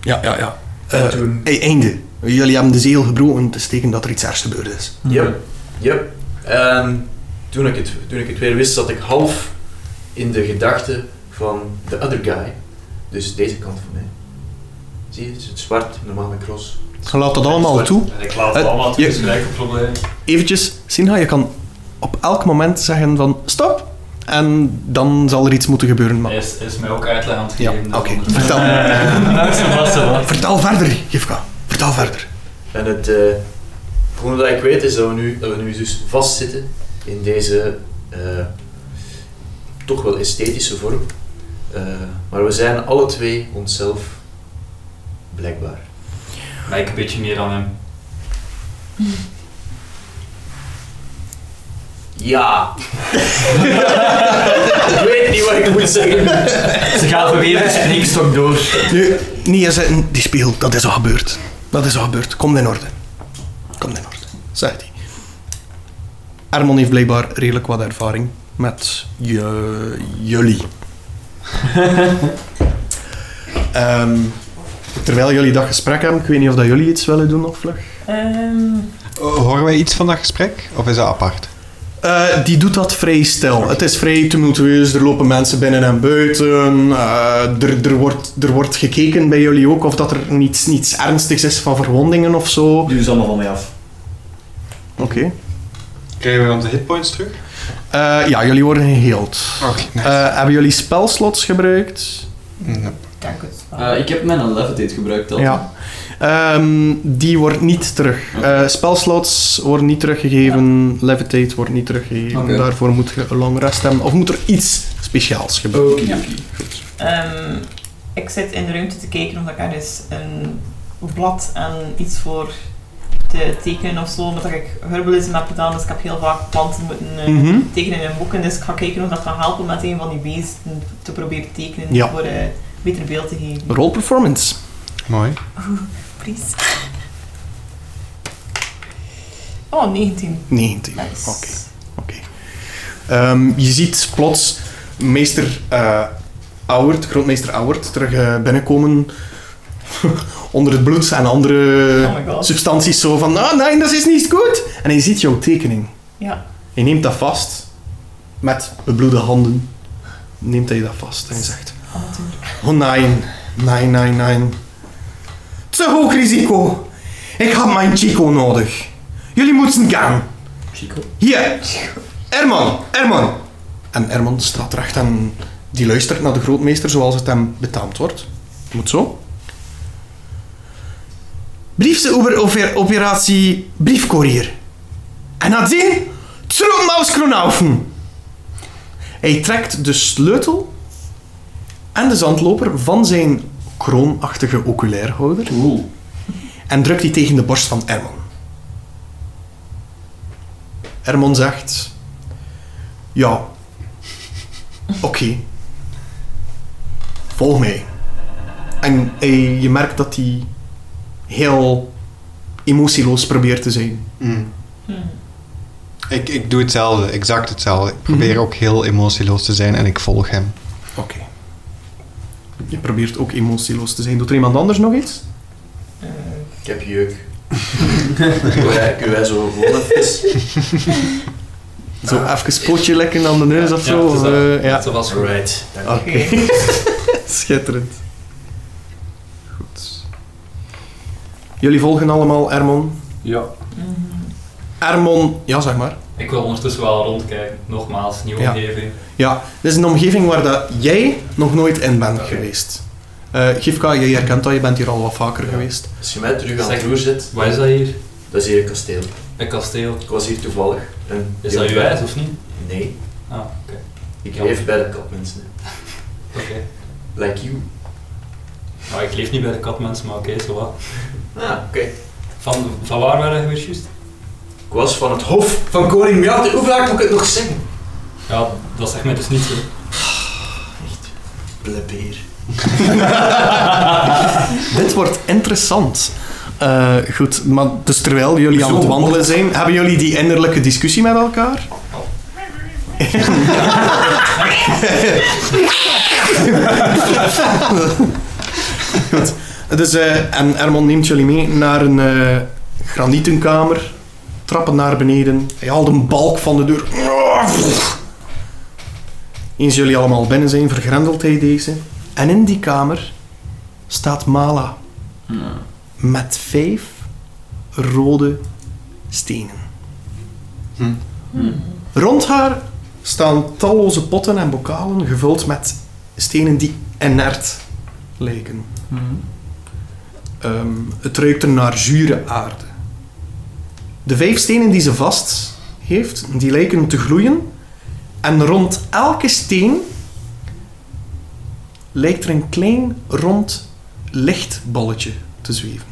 [SPEAKER 1] Ja, ja, ja.
[SPEAKER 2] en toen,
[SPEAKER 1] Eh, Hey, einde. Jullie hebben de ziel gebroken, het is teken dat er iets ergs gebeurd is.
[SPEAKER 2] yep, yep. En toen ik, het, toen ik het weer wist, zat ik half in de gedachten van the other guy. Dus deze kant van mij. Zie je, het is het zwart, normale cross.
[SPEAKER 1] Je laat dat allemaal toe.
[SPEAKER 6] En ik laat het
[SPEAKER 1] Eh,
[SPEAKER 6] allemaal toe,
[SPEAKER 1] je-
[SPEAKER 6] dus gelijk een probleem.
[SPEAKER 1] eventjes, Sinha, je kan op elk moment zeggen van stop. En dan zal er iets moeten gebeuren. Maar...
[SPEAKER 6] Is, is mij ook uitleg aan het
[SPEAKER 1] Ja,
[SPEAKER 6] geven. dus
[SPEAKER 1] oké. Vertel,
[SPEAKER 6] Vertel.
[SPEAKER 1] vertel verder, Gifka. Vertel verder.
[SPEAKER 2] En het eh, volgende dat ik weet is dat we nu, dat we nu dus vastzitten in deze eh, toch wel esthetische vorm. Eh, maar we zijn alle twee onszelf, blijkbaar.
[SPEAKER 6] Lijk een beetje meer dan hem.
[SPEAKER 2] Ja! ik weet niet wat ik moet zeggen.
[SPEAKER 7] Ze gaat weer de spreekstok door.
[SPEAKER 1] Nu, niet eens zeggen, die spiegel, dat is al gebeurd. Dat is al gebeurd. Kom in orde. Kom in orde, zegt hij. Armon heeft blijkbaar redelijk wat ervaring met je, jullie. Ehm, Terwijl jullie dat gesprek hebben, ik weet niet of dat jullie iets willen doen nog vlug.
[SPEAKER 3] Ehm,
[SPEAKER 5] Eh, Horen wij iets van dat gesprek? Of is dat apart?
[SPEAKER 1] Eh, die doet dat vrij stil. Het is vrij tumultueus, er lopen mensen binnen en buiten. Eh, er, er, wordt, er wordt gekeken bij jullie ook of dat er niets, niets ernstigs is van verwondingen of zo. Oké.
[SPEAKER 7] Nu is het allemaal van mij af.
[SPEAKER 5] Krijgen we onze hitpoints terug?
[SPEAKER 1] Eh, ja, jullie worden geheeld.
[SPEAKER 5] Oké, nice.
[SPEAKER 1] Eh, hebben jullie spelslots gebruikt?
[SPEAKER 5] Nee.
[SPEAKER 3] ik denk het wel.
[SPEAKER 7] Eh, ik heb mijn levitate gebruikt al.
[SPEAKER 1] Ja. Ehm, die wordt niet terug.
[SPEAKER 7] Oké.
[SPEAKER 1] Eh, spelslots worden niet teruggegeven. Levitate wordt niet teruggegeven.
[SPEAKER 7] Oké.
[SPEAKER 1] Daarvoor moet je een long rest hebben. Of moet er iets speciaals gebeuren.
[SPEAKER 7] Oké,
[SPEAKER 3] Ja.
[SPEAKER 7] oké.
[SPEAKER 3] Ehm, ik zit in de ruimte te kijken of ik ergens een blad en iets voor te tekenen of zo. Omdat ik herbalisme heb gedaan, dus ik heb heel vaak planten moeten eh,
[SPEAKER 1] Mhm.
[SPEAKER 3] tekenen in boeken. Dus ik ga kijken of dat kan helpen met een van die beesten te proberen tekenen
[SPEAKER 1] Ja.
[SPEAKER 3] voor eh, een beter beeld te geven.
[SPEAKER 1] Roll performance.
[SPEAKER 5] Mooi.
[SPEAKER 3] Please. Oh, 19.
[SPEAKER 1] 19. Oké.
[SPEAKER 3] Nice.
[SPEAKER 1] Oké. Ehm, je ziet plots meester eh Auwert, grootmeester Auwert, terug eh, binnenkomen onder het bloed en andere
[SPEAKER 3] Oh my god.
[SPEAKER 1] substanties. Zo van, ah nee, dat is niet goed. En hij ziet jouw tekening.
[SPEAKER 3] Ja.
[SPEAKER 1] Hij neemt dat vast met bebloede handen. Neemt hij dat vast en zegt,
[SPEAKER 3] Amateur.
[SPEAKER 1] oh nee, nee, nee, nee. Te hoog risico. Ik had mijn Chico nodig. Jullie moeten gaan.
[SPEAKER 7] Chico.
[SPEAKER 1] Hier, Erman, Erman. En Erman staat recht en die luistert naar de grootmeester zoals het hem betaamd wordt. Moet zo. Briefse over, over operatie briefcourier. En dat zin, Troopmauskronaufen. Hij trekt de sleutel en de zandloper van zijn kroonachtige oculairhouder
[SPEAKER 7] Oeh.
[SPEAKER 1] en drukt die tegen de borst van Ermon. Ermon zegt: Ja, oké, volg mij. En hij- je merkt dat hij heel emotieloos probeert te zijn.
[SPEAKER 5] Ik, ik doe hetzelfde, exact hetzelfde. Ik probeer ook heel emotieloos te zijn en ik volg hem.
[SPEAKER 1] Oké. Je probeert ook emotieloos te zijn. Doet er iemand anders nog iets?
[SPEAKER 3] Eh,
[SPEAKER 2] Ik heb jeuk. Kunnen wij- kunnen wij zo gewoon even...
[SPEAKER 1] Zo even pootje lekken aan de neus of
[SPEAKER 6] Ah. Ja,
[SPEAKER 1] zo?
[SPEAKER 6] het is
[SPEAKER 1] of,
[SPEAKER 6] dat.
[SPEAKER 1] eh, ja.
[SPEAKER 6] Dat was goed.
[SPEAKER 2] Right. dank u.
[SPEAKER 1] Oké.
[SPEAKER 3] Oké.
[SPEAKER 1] Schitterend. Goed. Jullie volgen allemaal Ermon.
[SPEAKER 4] Ja.
[SPEAKER 3] Mhm.
[SPEAKER 1] Ermon, ja zeg maar.
[SPEAKER 6] Ik wil ondertussen wel rondkijken. Nogmaals, nieuwe
[SPEAKER 1] Ja.
[SPEAKER 6] omgeving.
[SPEAKER 1] Ja, dit is een omgeving waar dat jij nog nooit in bent geweest. Eh Gifka, jij herkent dat, je bent hier al wat vaker
[SPEAKER 2] Ja.
[SPEAKER 1] geweest.
[SPEAKER 2] Als je mij terug aan
[SPEAKER 6] Zeg-
[SPEAKER 2] het roer zit,
[SPEAKER 6] Wat is dat hier?
[SPEAKER 2] dat is hier een kasteel.
[SPEAKER 6] Een kasteel.
[SPEAKER 2] Ik was hier toevallig. En
[SPEAKER 6] Is dat uw huis of niet?
[SPEAKER 2] Nee.
[SPEAKER 6] Ah, oké.
[SPEAKER 2] Ik
[SPEAKER 6] Ja.
[SPEAKER 2] leef bij de kapmensen.
[SPEAKER 6] Oké.
[SPEAKER 2] Like you.
[SPEAKER 6] Maar ik leef niet bij de katmens, maar oké, zo wat.
[SPEAKER 2] Ah, oké.
[SPEAKER 6] Van, van waar waren we weer juist?
[SPEAKER 2] Ik was van het hof van koning Mjate. Hoe vaak moet ik het nog zeggen?
[SPEAKER 6] Ja, dat zegt mij dus niet zo.
[SPEAKER 2] Plebeer.
[SPEAKER 1] Dit wordt interessant. Eh, goed, maar dus terwijl jullie aan het wandelen zijn, hebben jullie die innerlijke discussie met elkaar? goed. Dus, eh, en Ermon neemt jullie mee naar een eh, granietenkamer. Trappen naar beneden. Hij haalt een balk van de deur. Eens jullie allemaal binnen zijn, vergrendelt hij deze. En in die kamer staat Mala
[SPEAKER 7] Nou.
[SPEAKER 1] met vijf rode stenen.
[SPEAKER 5] Hm.
[SPEAKER 7] Hm.
[SPEAKER 1] Rond haar staan talloze potten en bokalen gevuld met stenen die inert lijken. Ehm, het ruikt er naar zure aarde. De vijf stenen die ze vast heeft, die lijken te gloeien. En rond elke steen lijkt er een klein rond lichtballetje te zweven.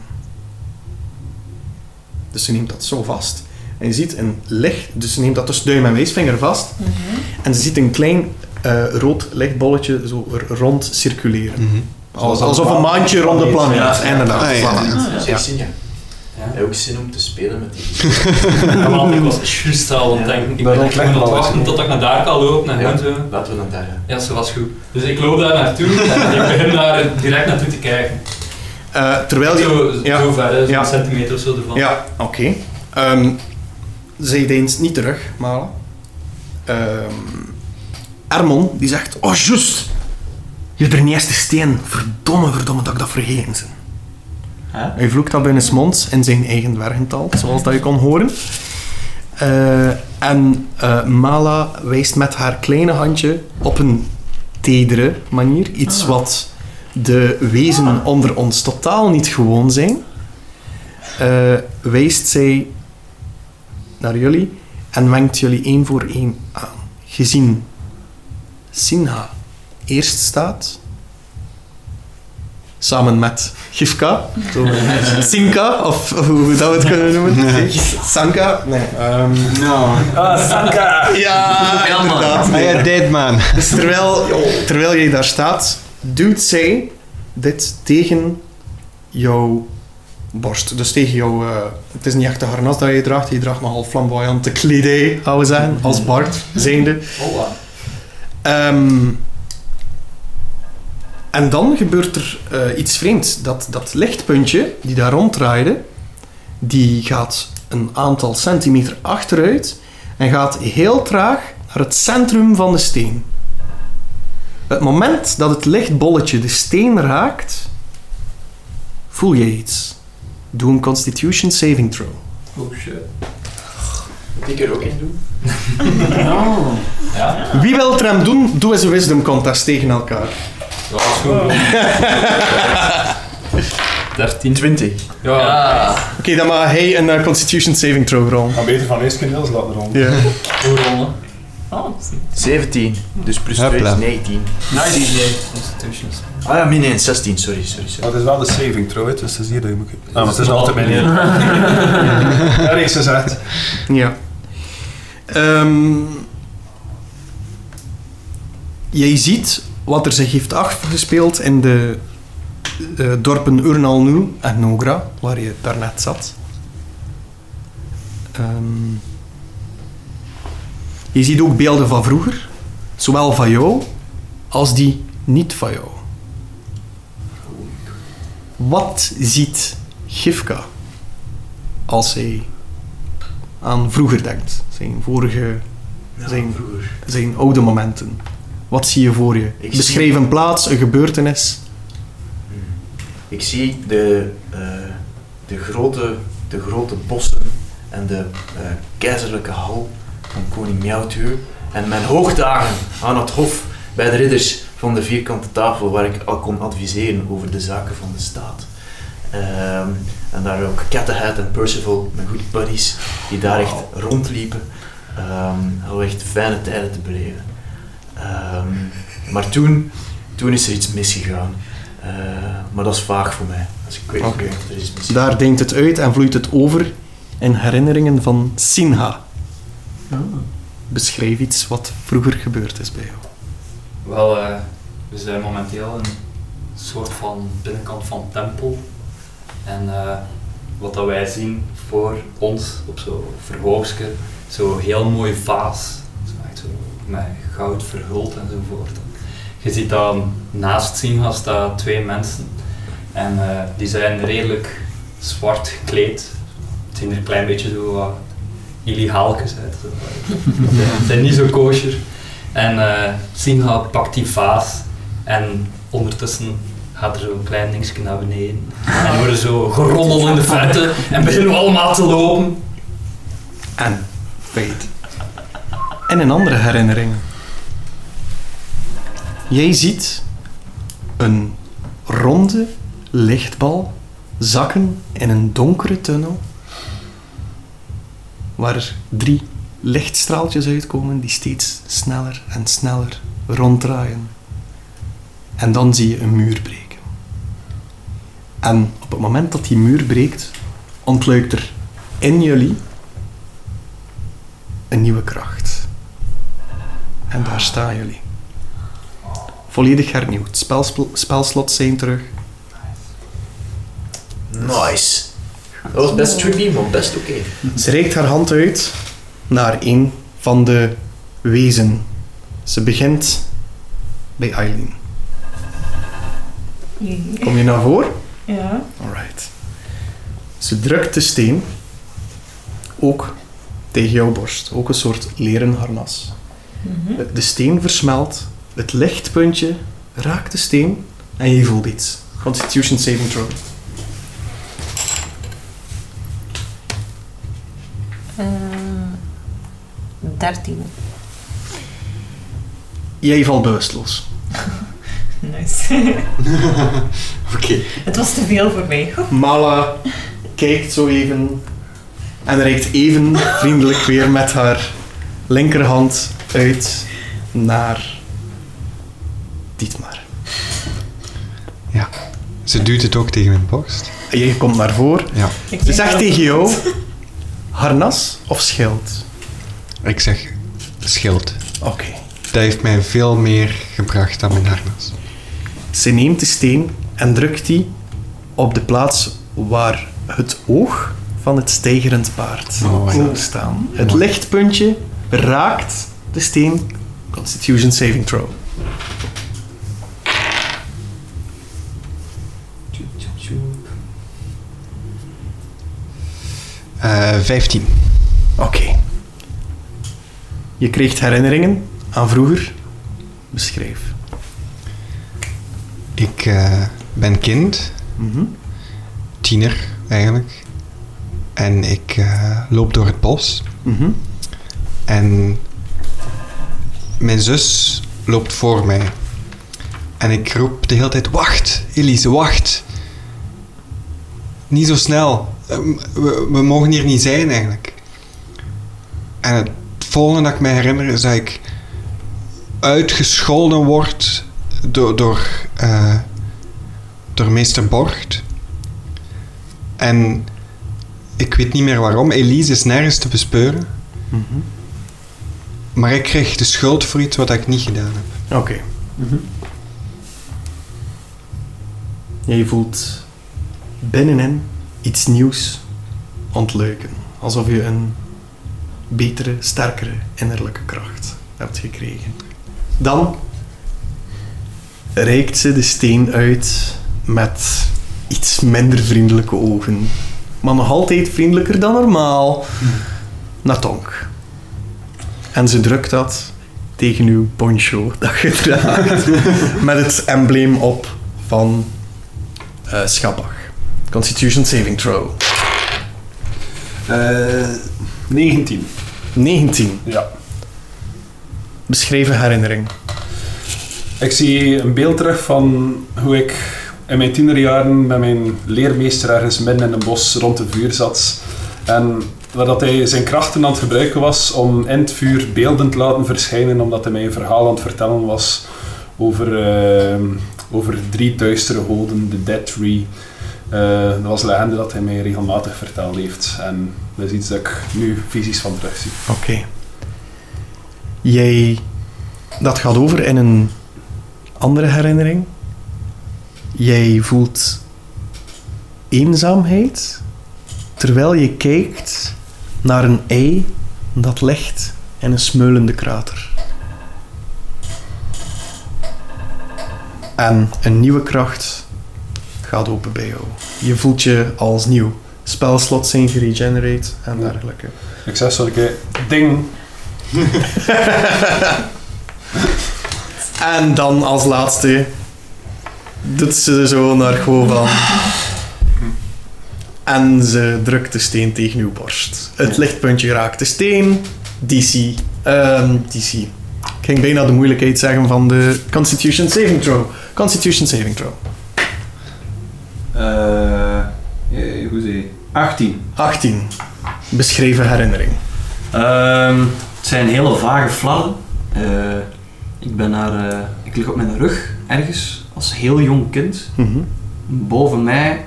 [SPEAKER 1] Dus ze neemt dat zo vast. En je ziet een licht, dus ze neemt dat tussen duim en wijsvinger vast. En ze ziet een klein eh, rood lichtballetje zo er rond circuleren. Als- Alsof een maandje rond de planeet.
[SPEAKER 2] Ja, ja.
[SPEAKER 1] Inderdaad.
[SPEAKER 5] Ah, ja,
[SPEAKER 1] voilà.
[SPEAKER 5] ja.
[SPEAKER 3] Ah, ja.
[SPEAKER 2] Zeg, Sinja.
[SPEAKER 6] Ja.
[SPEAKER 2] Heb je ook zin om te spelen met die?
[SPEAKER 6] Ja, want ik was juist al aan het
[SPEAKER 2] Ja.
[SPEAKER 6] denken. Ik
[SPEAKER 4] Dat
[SPEAKER 6] ben
[SPEAKER 4] lijkt
[SPEAKER 6] echt aan
[SPEAKER 4] me
[SPEAKER 6] het
[SPEAKER 4] wel
[SPEAKER 6] wachten
[SPEAKER 4] eens.
[SPEAKER 6] tot ik naar daar kan lopen en
[SPEAKER 2] Ja.
[SPEAKER 6] gewoon zo.
[SPEAKER 2] Laten we dan daar eh, gaan.
[SPEAKER 6] Ja, ze was goed. Dus ik loop daar naartoe en ik begin daar direct naartoe te kijken.
[SPEAKER 1] Eh, terwijl je...
[SPEAKER 6] zo,
[SPEAKER 1] ja.
[SPEAKER 6] zo ver, hè, zo'n
[SPEAKER 1] Ja.
[SPEAKER 6] centimeter of zo ervan.
[SPEAKER 1] Ja, oké. Ehm zij deens niet terug, Malen. Ehm Ermon, die zegt... Oh, juist! Je hebt er niet eens de steen. Verdomme, verdomme, dat ik dat vergeten ben.
[SPEAKER 7] Hè?
[SPEAKER 1] Hij vloekt dat binnen monds in zijn eigen dwergental, zoals dat je kon horen. Eh, en eh, Mala wijst met haar kleine handje op een tedere manier. Iets wat de wezen onder ons totaal niet gewoon zijn. Eh, wijst zij naar jullie en wenkt jullie één voor één aan. Gezien Sinha eerst staat, samen met Gifka, Sinka, of hoe dat we het kunnen noemen. Sanka? Nee. ehm,
[SPEAKER 5] Nou.
[SPEAKER 4] Ah, Sanka!
[SPEAKER 1] ja,
[SPEAKER 7] Ja, man.
[SPEAKER 1] inderdaad.
[SPEAKER 5] Ah ja, dead man.
[SPEAKER 1] Dus terwijl, terwijl jij daar staat, duwt zij dit tegen jouw borst. Dus tegen jouw... eh, het is niet echt de harnas dat je draagt. Je draagt nogal flamboyante kledij, gaan we zeggen. Als Bart, zijnde.
[SPEAKER 6] Hola.
[SPEAKER 1] Ehm, en dan gebeurt er eh, iets vreemds. Dat, dat lichtpuntje die daar ronddraaide, die gaat een aantal centimeter achteruit en gaat heel traag naar het centrum van de steen. Het moment dat het lichtbolletje de steen raakt, voel je iets. Doe een Constitution Saving Throw.
[SPEAKER 6] Oh shit.
[SPEAKER 2] Moet ik er ook in doen?
[SPEAKER 6] Ja,
[SPEAKER 1] Wie wil het hem doen, doe eens een Wisdom Contest tegen elkaar.
[SPEAKER 6] dat is goed. bro. 13.
[SPEAKER 2] 20.
[SPEAKER 6] Ja.
[SPEAKER 7] Ja.
[SPEAKER 1] Oké, dan mag hij een eh, Constitution Saving Throw rollen.
[SPEAKER 4] Maar beter van eerst kunnen als later rond.
[SPEAKER 1] Ja.
[SPEAKER 6] Hoe rollen?
[SPEAKER 3] Oh, dat is
[SPEAKER 2] 17. Dus plus
[SPEAKER 5] Hopla.
[SPEAKER 2] 2 is 19.
[SPEAKER 6] Nice. idee. Constitutions.
[SPEAKER 2] Ah ja, min 1, 16. Sorry, sorry. sorry.
[SPEAKER 4] Maar het is wel de saving throw, hè, dus het is hier dat je moet... Ah, maar het is altijd mijn
[SPEAKER 6] Ja.
[SPEAKER 4] Ja, reeks is echt.
[SPEAKER 1] Ja. Ehm, jij ziet wat er zich heeft afgespeeld in de eh, dorpen Urnal Nu en Nogra, waar je daarnet zat. Ehm, je ziet ook beelden van vroeger, zowel van jou als die niet van jou. Wat ziet Gifka als hij aan vroeger denkt. Zijn vorige,
[SPEAKER 2] Ja,
[SPEAKER 1] zijn-
[SPEAKER 2] vroeger.
[SPEAKER 1] zijn oude momenten. Wat zie je voor je?
[SPEAKER 2] zie-
[SPEAKER 1] Beschrijf een plaats, een gebeurtenis.
[SPEAKER 2] Ik zie de, eh, de, grote, de grote bossen en de eh, keizerlijke hal van koning Mjautuur. En mijn hoogdagen aan het hof bij de ridders van de vierkante tafel, waar ik al kon adviseren over de zaken van de staat. Ehm, en daar ook Cattehead en Percival, mijn goede buddies, die daar echt rondliepen. Ehm om echt fijne tijden te beleven. Ehm, maar toen, toen is er iets misgegaan. Eh, maar dat is vaag voor mij. Dus ik weet
[SPEAKER 1] Oké.
[SPEAKER 2] niet of er is mis.
[SPEAKER 1] Daar denkt het uit en vloeit het over in herinneringen van Sinha. Beschrijf iets wat vroeger gebeurd is bij jou.
[SPEAKER 6] Wel, eh, we zijn momenteel in een soort van binnenkant van tempel. En eh, wat dat wij zien voor ons op zo'n verhoogstje, zo'n heel mooi vaas. Zo echt zo met goud verhuld enzovoort. Je ziet dan naast Singa staan twee mensen. En eh, die zijn redelijk zwart gekleed. Het zien er een klein beetje zo wat illegaaltjes uit. Zo. Ze zijn niet zo kosher. En eh Sinha pakt die vaas en ondertussen gaat er zo'n klein dingetje naar beneden. En we worden zo gerommel in de verte en beginnen we allemaal te lopen.
[SPEAKER 1] En feit. En in andere herinneringen. Jij ziet een ronde lichtbal zakken in een donkere tunnel waar er drie lichtstraaltjes uitkomen die steeds sneller en sneller ronddraaien. En dan zie je een muur breken. En op het moment dat die muur breekt, ontluikt er in jullie een nieuwe kracht. En daar staan jullie. Volledig hernieuwd. Spelspl- spelslots zijn terug.
[SPEAKER 2] Nice. Dat was best tricky, maar best oké.
[SPEAKER 7] Eh,
[SPEAKER 1] Mhm. Ze reikt haar hand uit naar een van de wezen. Ze begint bij Eileen.
[SPEAKER 3] niet.
[SPEAKER 1] Kom je naar voren?
[SPEAKER 3] Ja.
[SPEAKER 1] Alright. Ze drukt de steen ook tegen jouw borst, ook een soort leren harnas.
[SPEAKER 3] Mhm.
[SPEAKER 1] De steen versmelt, het lichtpuntje raakt de steen en je voelt iets. Constitution saving throw.
[SPEAKER 3] Ehm, 13.
[SPEAKER 1] Jij valt bewusteloos.
[SPEAKER 3] Nice.
[SPEAKER 7] Oké.
[SPEAKER 3] het was te veel voor mij.
[SPEAKER 1] Mala kijkt zo even en reikt even vriendelijk weer met haar linkerhand uit naar Dietmar.
[SPEAKER 5] Ze duwt het ook tegen mijn borst.
[SPEAKER 1] En Jij komt naar voren.
[SPEAKER 3] Ik
[SPEAKER 1] Ze zegt tegen jou, harnas of schild?
[SPEAKER 5] Ik zeg schild.
[SPEAKER 1] Oké.
[SPEAKER 5] Dat heeft mij veel meer gebracht dan mijn harnas.
[SPEAKER 1] Ze neemt de steen en drukt die op de plaats waar het oog van het stijgerend paard
[SPEAKER 5] Oh, ja.
[SPEAKER 1] zou staan. Het
[SPEAKER 5] Mooi.
[SPEAKER 1] lichtpuntje raakt de steen. Constitution saving throw.
[SPEAKER 5] Eh 15.
[SPEAKER 1] Oké. Je kreeg herinneringen aan vroeger. Beschrijf.
[SPEAKER 5] Ik eh, ben kind,
[SPEAKER 1] Mhm.
[SPEAKER 5] tiener eigenlijk. En ik eh, loop door het bos.
[SPEAKER 1] Mhm.
[SPEAKER 5] En mijn zus loopt voor mij. En ik roep de hele tijd: Wacht, Elise, wacht. Niet zo snel. Ehm, We, we mogen hier niet zijn eigenlijk. En het volgende dat ik me herinner is dat ik uitgescholden word door, door, eh, door meester Borgt. En ik weet niet meer waarom. Elise is nergens te bespeuren.
[SPEAKER 1] Mhm.
[SPEAKER 5] Maar ik kreeg de schuld voor iets wat ik niet gedaan heb.
[SPEAKER 1] Oké. Mhm. Jij voelt binnenin iets nieuws ontleuken. Alsof je een betere, sterkere innerlijke kracht hebt gekregen. Dan reikt ze de steen uit met iets minder vriendelijke ogen. Maar nog altijd vriendelijker dan normaal. Naar Tonk. En ze drukt dat tegen uw poncho dat je draagt. met het embleem op van eh Schabach. Constitution Saving Throw.
[SPEAKER 4] Eh 19.
[SPEAKER 1] 19.
[SPEAKER 4] Ja.
[SPEAKER 1] Beschreven herinnering.
[SPEAKER 4] Ik zie een beeld terug van hoe ik in mijn tienerjaren met mijn leermeester ergens midden in een bos rond een vuur zat. En waar dat hij zijn krachten aan het gebruiken was om in het vuur beelden te laten verschijnen, omdat hij mij een verhaal aan het vertellen was over, eh, over drie duistere goden, de Dead Tree. Eh, dat was een legende dat hij mij regelmatig verteld heeft. En dat is iets dat ik nu visies van terug zie.
[SPEAKER 1] Oké. Jij... Dat gaat over in een andere herinnering. Jij voelt eenzaamheid terwijl je kijkt naar een ei dat ligt in een smeulende krater. En een nieuwe kracht gaat open bij jou. Je voelt je als nieuw. Spelslots zijn geregenerate en dergelijke.
[SPEAKER 4] Ik zeg zo een keer, ding,
[SPEAKER 1] En dan als laatste doet ze zo naar Govan. En ze drukt de steen tegen uw borst. Het lichtpuntje raakt de steen. DC. ehm, DC. Ik ging bijna de moeilijkheid zeggen van de Constitution Saving Throw. Constitution Saving Throw.
[SPEAKER 2] Eh, eh, hoe zeg je? 18.
[SPEAKER 1] 18. Beschreven herinnering.
[SPEAKER 7] Ehm, het zijn hele vage fladden. Eh, ik ben naar, eh, ik lig op mijn rug ergens als heel jong kind.
[SPEAKER 1] Mhm.
[SPEAKER 7] Boven mij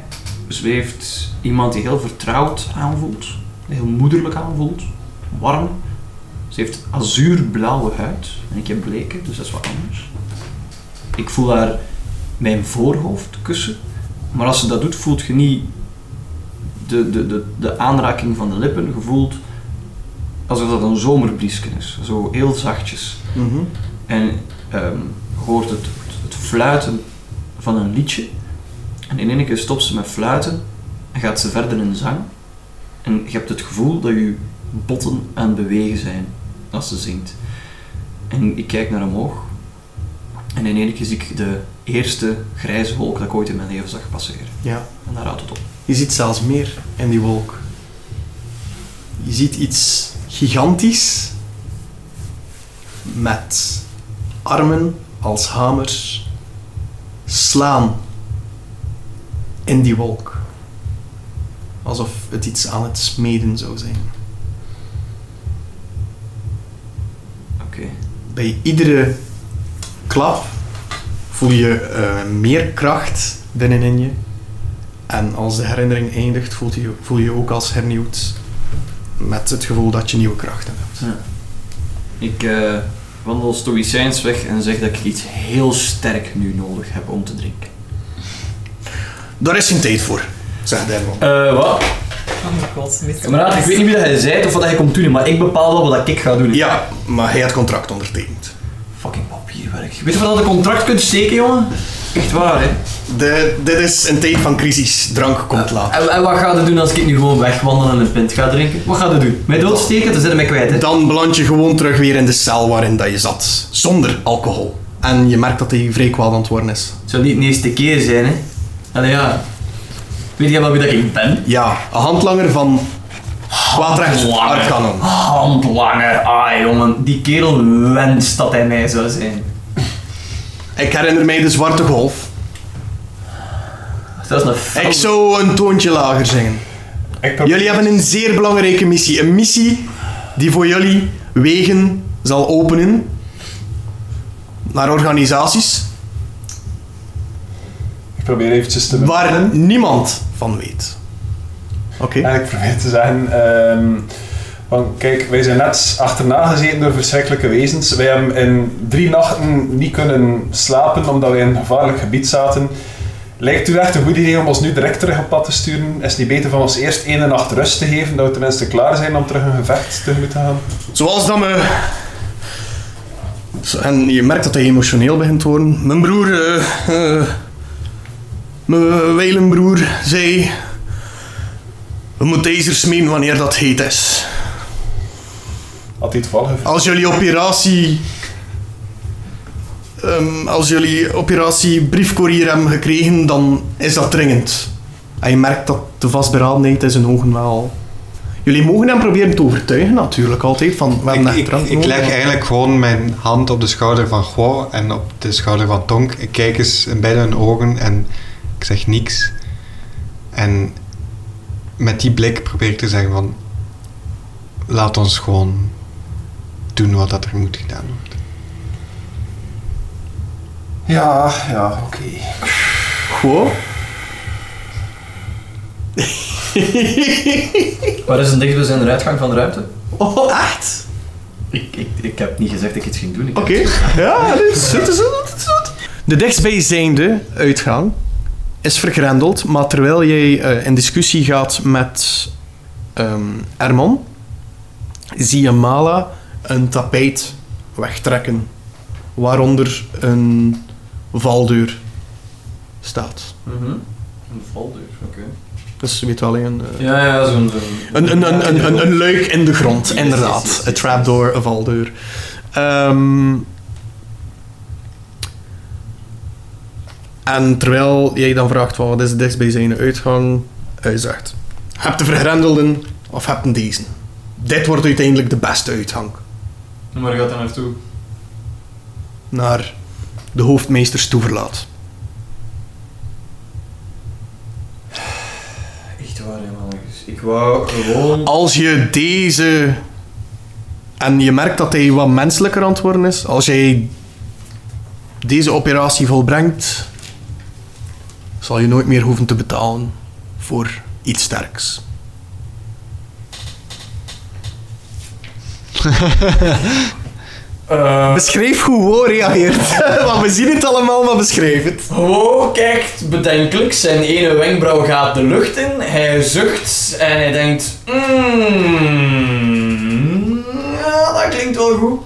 [SPEAKER 7] zweeft iemand die heel vertrouwd aanvoelt, heel moederlijk aanvoelt, warm. Ze heeft azuurblauwe huid en ik heb bleke, dus dat is wat anders. Ik voel haar mijn voorhoofd kussen, maar als ze dat doet, voelt je niet de, de, de, de aanraking van de lippen. Je voelt alsof dat een zomerbriesken is, zo heel zachtjes.
[SPEAKER 1] Mhm.
[SPEAKER 7] En ehm, je hoort het, het fluiten van een liedje. En in één keer stopt ze met fluiten en gaat ze verder in zang. En je hebt het gevoel dat je botten aan het bewegen zijn als ze zingt. En ik kijk naar omhoog en in één keer zie ik de eerste grijze wolk dat ik ooit in mijn leven zag passeren.
[SPEAKER 1] Ja.
[SPEAKER 7] En daar houdt het op.
[SPEAKER 1] Je ziet zelfs meer in die wolk. Je ziet iets gigantisch met armen als hamers slaan in die wolk. Alsof het iets aan het smeden zou zijn.
[SPEAKER 7] Oké.
[SPEAKER 1] Bij iedere klap voel je eh, meer kracht binnenin je. En als de herinnering eindigt, voelt je, voel je je ook als hernieuwd. Met het gevoel dat je nieuwe krachten hebt.
[SPEAKER 7] Ik eh, wandel stoïcijns weg en zeg dat ik iets heel sterk nu nodig heb om te drinken.
[SPEAKER 1] Daar is geen tijd voor, zegt Dermon.
[SPEAKER 7] Eh, wat?
[SPEAKER 3] Oh mijn god, mis-
[SPEAKER 7] Kameraad, ik weet niet wie dat hij zei of wat hij komt doen, maar ik bepaal wel wat ik ga doen.
[SPEAKER 1] Ja, maar hij had contract ondertekend.
[SPEAKER 7] Fucking papierwerk. Weet je wat dat een contract kunt steken, jongen? Echt waar, hè?
[SPEAKER 1] De, dit is een tijd van crisis. Drank komt later.
[SPEAKER 7] En, en wat gaat het doen als ik nu gewoon wegwandel en een pint ga drinken? Wat gaat het doen? Mij doodsteken? Dan zit hij mij kwijt, hè?
[SPEAKER 1] Dan beland je gewoon terug weer in de cel waarin dat je zat. Zonder alcohol. En je merkt dat hij vrij kwaad aan het worden is.
[SPEAKER 7] Het zou niet de eerste keer zijn, hè? Allee, ja. Weet jij wel wie dat ik ben?
[SPEAKER 1] Ja, een handlanger van kwaadrecht
[SPEAKER 7] Handlanger.
[SPEAKER 1] Arcanon.
[SPEAKER 7] Handlanger. Ah, jongen. Die kerel wenst dat hij mij zou zijn.
[SPEAKER 1] Ik herinner mij de zwarte golf.
[SPEAKER 7] Dat is een fel-
[SPEAKER 1] Ik zou een toontje lager zingen. Jullie hebben een zeer belangrijke missie. Een missie die voor jullie wegen zal openen naar organisaties
[SPEAKER 4] Ik probeer eventjes te...
[SPEAKER 1] waar niemand van weet. Oké.
[SPEAKER 4] En ik probeer te zeggen, ehm, want kijk, wij zijn net achterna gezeten door verschrikkelijke wezens. Wij hebben in drie nachten niet kunnen slapen omdat wij in een gevaarlijk gebied zaten. Lijkt u echt een goed idee om ons nu direct terug op pad te sturen? Is het niet beter van ons eerst één nacht rust te geven, dat we tenminste klaar zijn om terug een gevecht tegemoet te gaan?
[SPEAKER 1] Zoals dat me. Zo- En je merkt dat hij emotioneel begint te worden. Mijn broer, eh, eh, mijn wijlenbroer, zei. We moeten ijzer smeden wanneer dat heet is.
[SPEAKER 4] Had hij toevallig gevoeld?
[SPEAKER 1] Als jullie operatie. ehm, als jullie operatie briefcourier hebben gekregen, dan is dat dringend. En je merkt dat de vastberadenheid in zijn ogen wel. Jullie mogen hem proberen te overtuigen, natuurlijk, altijd. Van, we hebben
[SPEAKER 5] Ik,
[SPEAKER 1] echt
[SPEAKER 5] ik,
[SPEAKER 1] drank
[SPEAKER 5] ik
[SPEAKER 1] nodig,
[SPEAKER 5] leg
[SPEAKER 1] maar-
[SPEAKER 5] eigenlijk gewoon mijn hand op de schouder van Guo en op de schouder van Tonk. Ik kijk eens in beide hun ogen en ik zeg niks. En met die blik probeer ik te zeggen van... Laat ons gewoon doen wat dat er moet gedaan worden.
[SPEAKER 4] Ja, ja, oké.
[SPEAKER 1] Gewoon.
[SPEAKER 7] Waar is een dichtbijzijnde uitgang van de ruimte?
[SPEAKER 1] Oh, echt?
[SPEAKER 7] Ik, ik, ik heb niet gezegd dat ik iets ging doen. Ik heb
[SPEAKER 1] Oké. Ja, dit is goed, dit is goed, dit is goed. De dichtstbijzijnde uitgang is vergrendeld, maar terwijl jij eh, in discussie gaat met ehm Erman, zie je Mala een tapijt wegtrekken, waaronder een valdeur staat.
[SPEAKER 6] Mhm.
[SPEAKER 7] Een valdeur, oké.
[SPEAKER 1] Dus je weet wel, een, eh,
[SPEAKER 7] Ja, ja, zo'n... zo'n-
[SPEAKER 1] Een, een, een, een, een, een luik in de grond, inderdaad. Een trapdoor, een valdeur. Ehm, en terwijl jij dan vraagt van wat is het dichtst bij zijn uitgang, hij zegt: Heb de vergrendelden of heb een deze? Dit wordt uiteindelijk de beste uitgang
[SPEAKER 6] En waar gaat dat naartoe?
[SPEAKER 1] naar de hoofdmeesters toeverlaat.
[SPEAKER 7] Echt waar, helemaal Ik wou gewoon...
[SPEAKER 1] Als je deze. En je merkt dat hij wat menselijker aan het worden is. Als jij deze operatie volbrengt, zal je nooit meer hoeven te betalen voor iets sterks. Beschrijf hoe Wo reageert. Want we zien het allemaal, maar beschrijf het.
[SPEAKER 7] Wow, kijkt bedenkelijk. Zijn ene wenkbrauw gaat de lucht in. Hij zucht en hij denkt... "Mm, Mmm, ja, dat klinkt wel goed.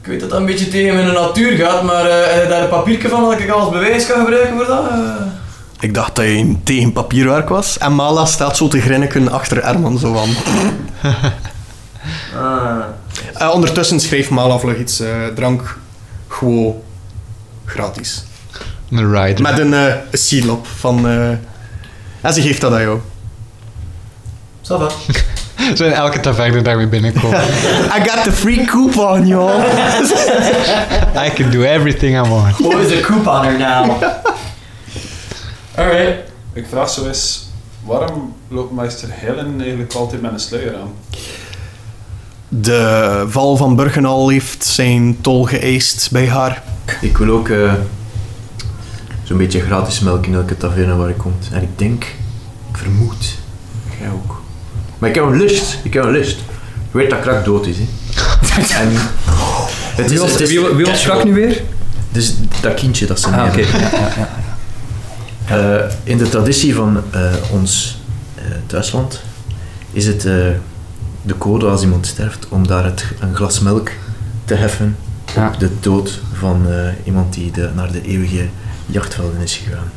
[SPEAKER 7] Ik weet dat dat een beetje tegen mijn natuur gaat, maar eh, heb je daar een papiertje van dat ik als bewijs kan gebruiken voor dat? Eh,
[SPEAKER 1] Ik dacht dat je tegen papierwerk was. En Mala staat zo te grinniken achter Erman zo aan.
[SPEAKER 7] ah.
[SPEAKER 1] Eh, ondertussen schreef Mala vlug iets eh, drank. Gewoon gratis.
[SPEAKER 5] Een rider.
[SPEAKER 1] Met een eh, een seal op van... eh, en ze geeft dat aan jou.
[SPEAKER 7] ça va.
[SPEAKER 5] Zijn elke taverne daarmee binnenkomen.
[SPEAKER 1] I got the free coupon, joh.
[SPEAKER 5] I can do everything I want.
[SPEAKER 7] Who is the couponer now? Alright.
[SPEAKER 4] Ik vraag zo eens, waarom loopt meester Helen eigenlijk altijd met een sluier aan?
[SPEAKER 1] De val van Burgenal heeft zijn tol geëist bij haar.
[SPEAKER 2] Ik wil ook eh, zo'n beetje gratis melk in elke taverne waar ik kom. En ik denk, ik vermoed, jij ook. Maar ik heb een list, ik heb een list. Ik weet dat krak dood is, hè. En het is, het is
[SPEAKER 6] nu weer?
[SPEAKER 2] Dus dat kindje dat ze
[SPEAKER 6] Ah, oké.
[SPEAKER 2] nemen. Eh, in de traditie van eh, ons eh, thuisland is het eh, de code als iemand sterft om daar het, een glas melk te heffen op
[SPEAKER 6] Ja.
[SPEAKER 2] de dood van eh, iemand die de, naar de eeuwige jachtvelden is gegaan.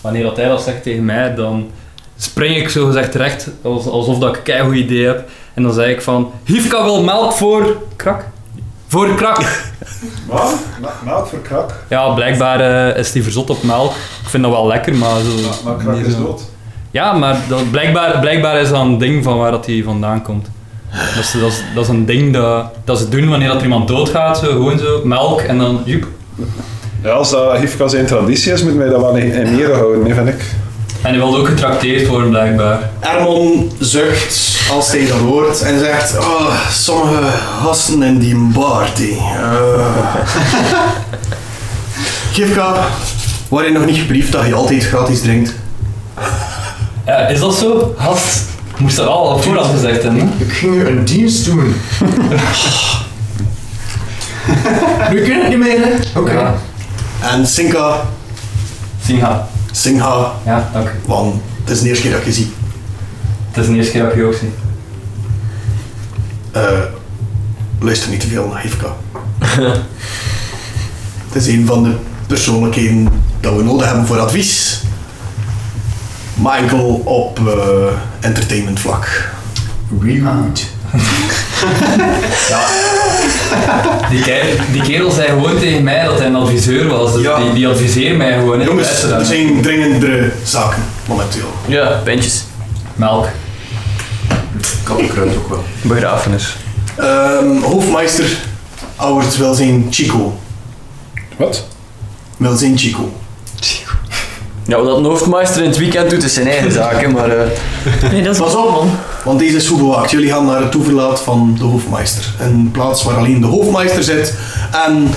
[SPEAKER 6] Wanneer dat hij dat zegt tegen mij, dan spring ik zogezegd recht, als- alsof dat ik een keigoed idee heb. En dan zeg ik van, Hifka wil melk voor... Krak? Voor krak.
[SPEAKER 4] Wat? Melk voor krak?
[SPEAKER 6] Ja, blijkbaar eh, is die verzot op melk. Ik vind dat wel lekker, maar zo...
[SPEAKER 4] Maar, maar krak
[SPEAKER 6] niet
[SPEAKER 4] is
[SPEAKER 6] zo.
[SPEAKER 4] dood.
[SPEAKER 6] Ja, maar dat, blijkbaar, blijkbaar is dat een ding van waar dat die vandaan komt. Dat is, dat is, dat is een ding dat, dat ze doen wanneer dat er iemand doodgaat. Zo, gewoon zo, melk en dan... Joep.
[SPEAKER 4] Ja, als dat Hifka zijn traditie is, moet mij dat wel in, in ere houden, hè, vind ik.
[SPEAKER 6] En die wilde ook getrakteerd worden, blijkbaar.
[SPEAKER 1] Ermon zucht als hij dat hoort en zegt: "Ah, Sommige gasten in die party. Gifka, waar je nog niet gebriefd dat je altijd gratis drinkt.
[SPEAKER 6] Ja, is dat zo? Gast, moest dat al op voorhand gezegd hebben. hè?
[SPEAKER 2] Ik ging u een dienst doen.
[SPEAKER 7] Nu kunnen het niet meer, hè? Oké.
[SPEAKER 6] Ja,
[SPEAKER 1] En Sinka,
[SPEAKER 6] Sinha.
[SPEAKER 1] Singha,
[SPEAKER 6] Ja, dank. u.
[SPEAKER 1] want het is de eerste keer dat ik je zie.
[SPEAKER 6] Het is de eerste keer dat ik je ook zie.
[SPEAKER 1] Eh, luister niet te veel naar Gifka. het is een van de persoonlijkheden dat we nodig hebben voor advies. Maar enkel op eh entertainment vlak.
[SPEAKER 2] Reroute.
[SPEAKER 6] Die, ke- die kerel zei gewoon tegen mij dat hij een adviseur was. Dus
[SPEAKER 1] Ja.
[SPEAKER 6] die, die adviseert mij gewoon. hè.
[SPEAKER 1] Jongens,
[SPEAKER 6] Luister dan.
[SPEAKER 1] er zijn dringendere zaken momenteel.
[SPEAKER 7] Ja, pintjes.
[SPEAKER 6] Melk.
[SPEAKER 2] Kappenkruid ook wel.
[SPEAKER 7] Begrafenis.
[SPEAKER 1] Ehm, hoofdmeister Auwert wil zijn Chico.
[SPEAKER 4] Wat?
[SPEAKER 1] Wil zijn Chico.
[SPEAKER 7] Ja, wat dat een hoofdmeister in het weekend doet, is zijn eigen zaak, hè, maar... eh,
[SPEAKER 3] Nee, dat is
[SPEAKER 1] Pas op, man. Want deze is goed bewaakt. Jullie gaan naar het toeverlaat van de hoofdmeister. Een plaats waar alleen de hoofdmeister zit en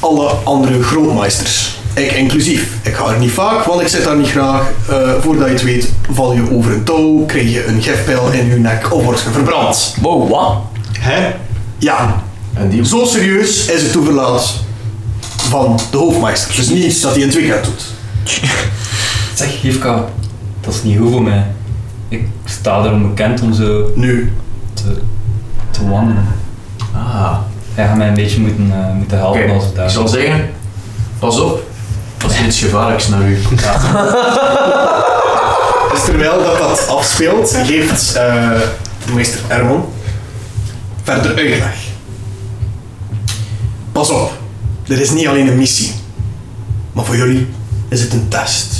[SPEAKER 1] alle andere grootmeisters. Ik inclusief. Ik ga er niet vaak, want ik zit daar niet graag. Eh, voordat je het weet, val je over een touw, krijg je een gifpijl in je nek of word je verbrand.
[SPEAKER 7] Wow, wat?
[SPEAKER 5] Hè?
[SPEAKER 1] Ja,
[SPEAKER 2] En die
[SPEAKER 1] Zo serieus is het toeverlaat van de hoofdmeester. Dus niets dat hij in het weekend doet.
[SPEAKER 6] Zeg, Jivka, dat is niet goed voor mij. Ik sta erom bekend om zo
[SPEAKER 1] Nu,
[SPEAKER 6] te, te wandelen.
[SPEAKER 2] Ah.
[SPEAKER 6] Jij gaat mij een beetje moeten, eh, moeten helpen
[SPEAKER 2] Oké,
[SPEAKER 6] als het daar
[SPEAKER 2] ik zal zeggen, pas op, als er iets gevaarlijks naar u komt.
[SPEAKER 1] dus terwijl dat, dat afspeelt, geeft eh, meester Ermon verder uitleg. Pas op, dit is niet alleen een missie. Maar voor jullie is het een test.